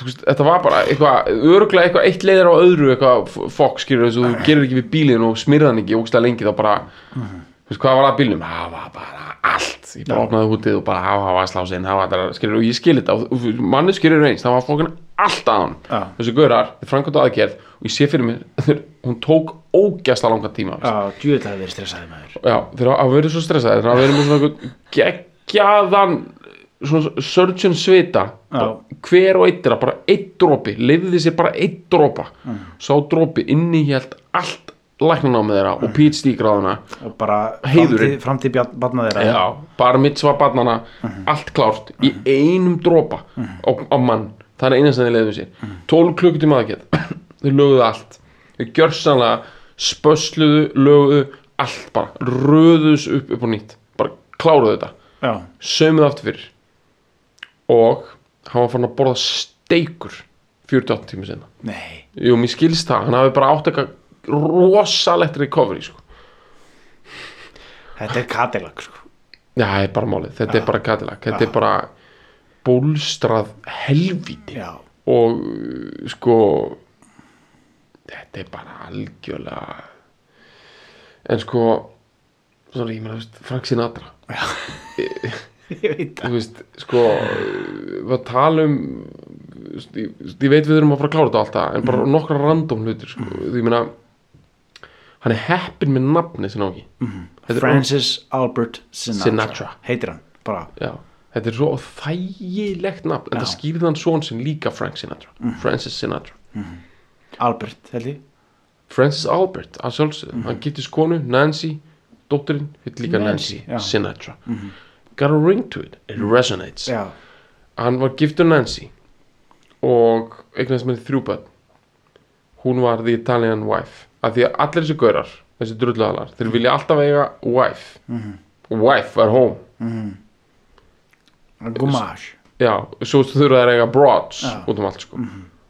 S2: þú veist, þetta var bara eitthvað, örgulega eitthvað eitt leiðir á öðru eitthvað fokk skilur þess að þú gerir ekki við bílinn og smirðan ekki ógstlega lengi þá bara þú veist hvað var að bílnum, það var bara allt ég bara opnaði hútið og bara það var slásinn, það var það, skilur, og ég skil þetta og manni skilur eins, það var fokkin allt að hann
S3: Já.
S2: þessu gaurar, þið framkvæmdu aðgerð og ég sé fyrir mér, hún tók ógæsla langan tíma,
S3: já, djúið það verið stressaði maður
S2: já, þeir hafa verið svo stressaði þeir hafa verið með svona einhvern geggjaðan svona surgeon svita
S3: Já.
S2: hver og eitt er að bara eitt dropi leiði sér bara eitt dropa sá dropi inni hélt allt læknanámið þeirra og PhD gráðuna
S3: og bara
S2: Heiðurinn.
S3: framtíð- framtíð barna þeirra
S2: já, bara mitzva barnana allt klárt í einum dropa á, á mann, það er eina sem þeir leiðum sér 12 klukkutíma aðgerð þeir löguðu allt, þeir gjörsanlega spösluðu, löguðu allt bara, röðuðs upp upp og nýtt bara kláruðu þetta
S3: já,
S2: sömuð aftur fyrir og hann var fann að borða steikur 48 tíma sinna
S3: nei,
S2: Jú, mér skilst það, hann hafi bara átt eitthvað rosalegt recovery sko.
S3: þetta er katilag sko.
S2: Já, það er bara málið, þetta er bara Cadillac þetta er bara bólstrað helvíti
S3: já,
S2: og uh, sko þetta er bara algjörlega en sko sorry, ég meina, þú veist, Frank Sinatra
S3: ég veit það
S2: þú veist, sko uh, við að tala um þú veist, ég, þú veist, ég veit við erum að fara að klára þetta alltaf en bara nokkra random hlutir sko. ég meina, hann er heppin með nafni sem á ekki Þetta er-
S3: Francis Albert Sinatra,
S2: Sinatra.
S3: heitir hann, bara
S2: Já, þetta er svo þægilegt nafn en það
S3: Mhm.
S2: skýrði hann svon sinn líka Frank Sinatra Francis Sinatra
S3: Albert, held ég
S2: Francis Albert, að sjálfsögðu
S3: Mhm.
S2: hann gittist konu, Nancy, dótturinn hitt líka
S3: Nancy,
S2: Nancy,
S3: já. Mhm.
S2: Sinatra got a ring to it, it resonates
S3: já,
S2: hann var giftur Nancy og eignast með þrjú börn hún var the Italian wife af því að allir þessi gaurar, þessi drulladalar
S3: Mhm.
S2: þeir vilja alltaf eiga wife wife at home
S3: gumash
S2: já, svo þurfa þær að eiga broads
S3: Já. Mhm.
S2: út um allt sko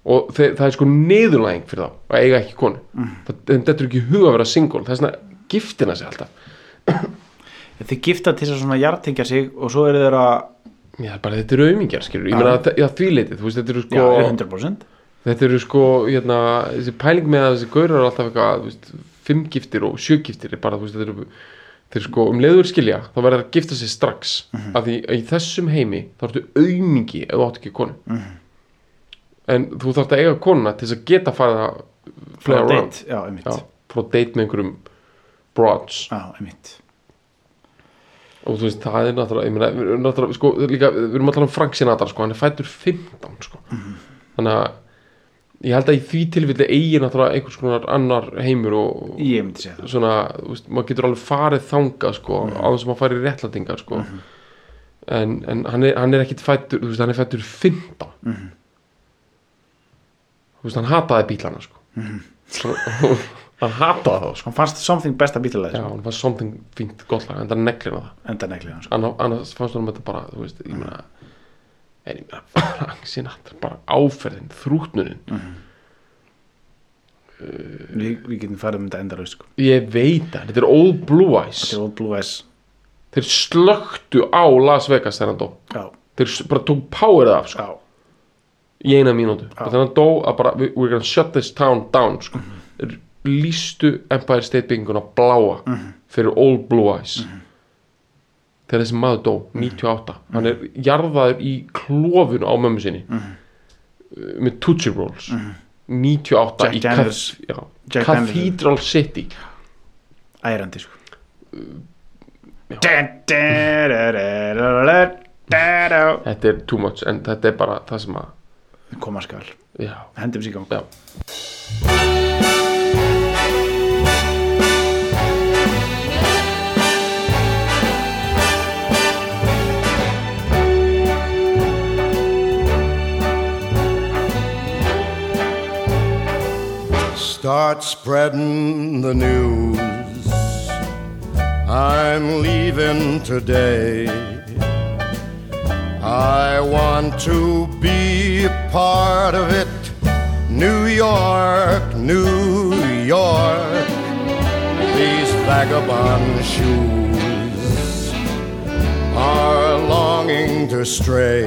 S2: og þe það er sko niðurlæging fyrir þá að eiga ekki konu
S3: Mhm.
S2: það, þeim dettur ekki í hug að vera single það er svona giftina sig alltaf
S3: þið gifta til þess að svona jartengja sig og svo eru þeir að
S2: já, bara þetta eru aumingjar skilur ég meina að það því leitið, þú veist, þetta eru
S3: já,
S2: sko
S3: 100%
S2: Þetta eru sko, hérna, þessi pæling með að þessi gaurar eru alltaf eitthvað, þú veist, fimm giftir og sjö giftir er bara, þú veist, þetta eru, þeir sko, um leiður skilja, þá verður að gifta sig strax, af því að í þessum heimi þá ertu aumingi ef þú átt ekki konu. En þú þarft að eiga konuna til þess að geta farið að
S3: Fara
S2: flair
S3: á
S2: around.
S3: date, já, einmitt.
S2: Já, frá date með einhverjum broads
S3: já, einmitt
S2: og þú veist, það er náttúrulega, ég meina, við erum náttúrulega, sko, líka, við erum alltaf um Frank Sinatra, sko, hann er fættur 15, sko, þannig að ég held að í því tilfelli eigi náttúrulega einhvers konar annar heimur og
S3: ég myndi segja það
S2: svona, þú veist, maður getur alveg farið þangað, sko, á þess að maður farið réttlatingar, sko, en, en hann er, hann er ekkit fættur, þú veist, hann er fættur 15, þú veist, hann hataði bílana, sko, hann hataði þá, sko,
S3: hann fannst something besta
S2: já,
S3: bílalega
S2: hann var something fínt gott lag, en það neglir hann það
S3: enda neglið hann sko.
S2: Anna- annars fannst honum þetta bara þú veist, ég meina en ég meina, Frank Sinatra, bara áferðin þrútnunin,
S3: Vi, við getum farið um þetta endalaust sko.
S2: ég veit það þetta er Old Blue Eyes,
S3: til Old Blue S
S2: þeir slöktu á Las Vegas þegar hann dó,
S3: já,
S2: þeir s- bara tók powerið af, sko,
S3: já,
S2: í eina mínútu bara þegar hann dó, að bara, we- we're gonna shut this town down, sko,
S3: Mhm.
S2: þeir lístu Empire State bygginguna bláa fyrir Old Blue Eyes
S3: Mhm.
S2: þegar þessi maður dó 98, hann er jarðaður í klófun á mömmu sinni
S3: Mhm.
S2: Eh, með Tootsie Rolls 98
S3: Jack
S2: í
S3: Daniels.
S2: kath- já,
S3: Jack
S2: Cathedral City
S3: ærandi sko. Dun, dun, dun, dun, dun, dun, dun, dun.
S2: þetta er too much en þetta er bara það sem að
S3: koma skal,
S2: já,
S3: hendum sér í gang
S2: já.
S5: Start spreading the news. I'm leaving today. I want to be a part of it. New York, New York. These vagabond shoes are longing to stray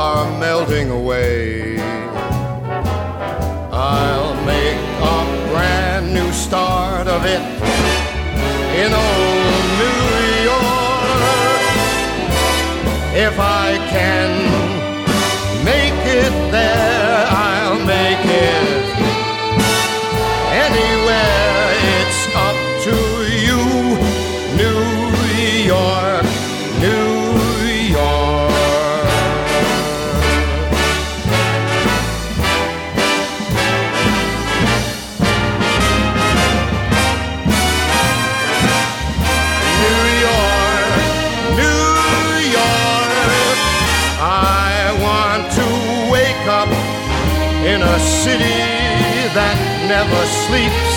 S5: are melting away. I'll make a brand new start of it in old New York. If I can make it there, I'll make it anywhere. It's up to you, New York, New York. New York, New York. I want to wake up in a city that never sleeps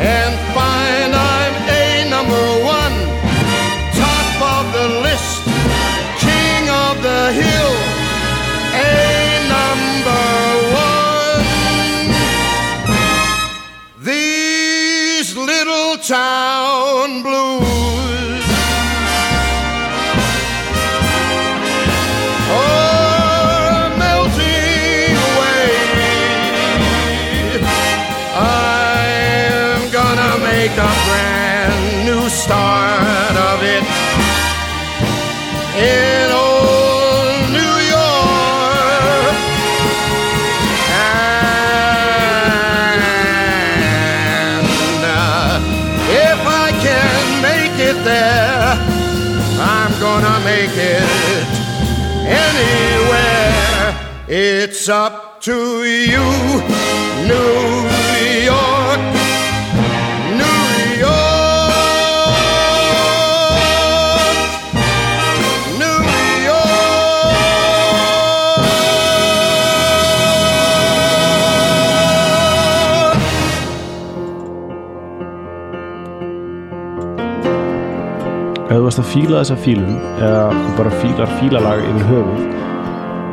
S5: and find I'm a number one, top of the list, king of the hill, a number one. These little town blues. Are Oh, melting uh, It's up to you, New York, New York, New York.
S6: ef þú varst að fíla þessa fílun eða þú bara fílar fílalag yfir höfuð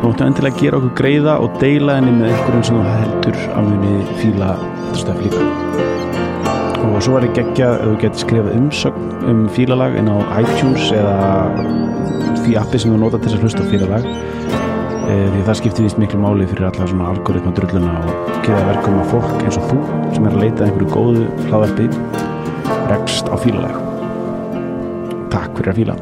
S6: þú máttu endilega gera okkur greiða og deila henni með einhverjum sem þú heldur að muni fíla þetta stöf líka og svo er ég geggja ef þú getur skrifað umsögn um fílalag inn á iTunes eða því appi sem þú nota til þess að hlusta á fílalag Eh, því það skiptir víst miklu máli fyrir alla svona algoritma drulluna og geða verkum að fólk eins og þú sem er að leita að einhverju góðu hlaðarpi rekst á fílalag Takk fyrir að fíla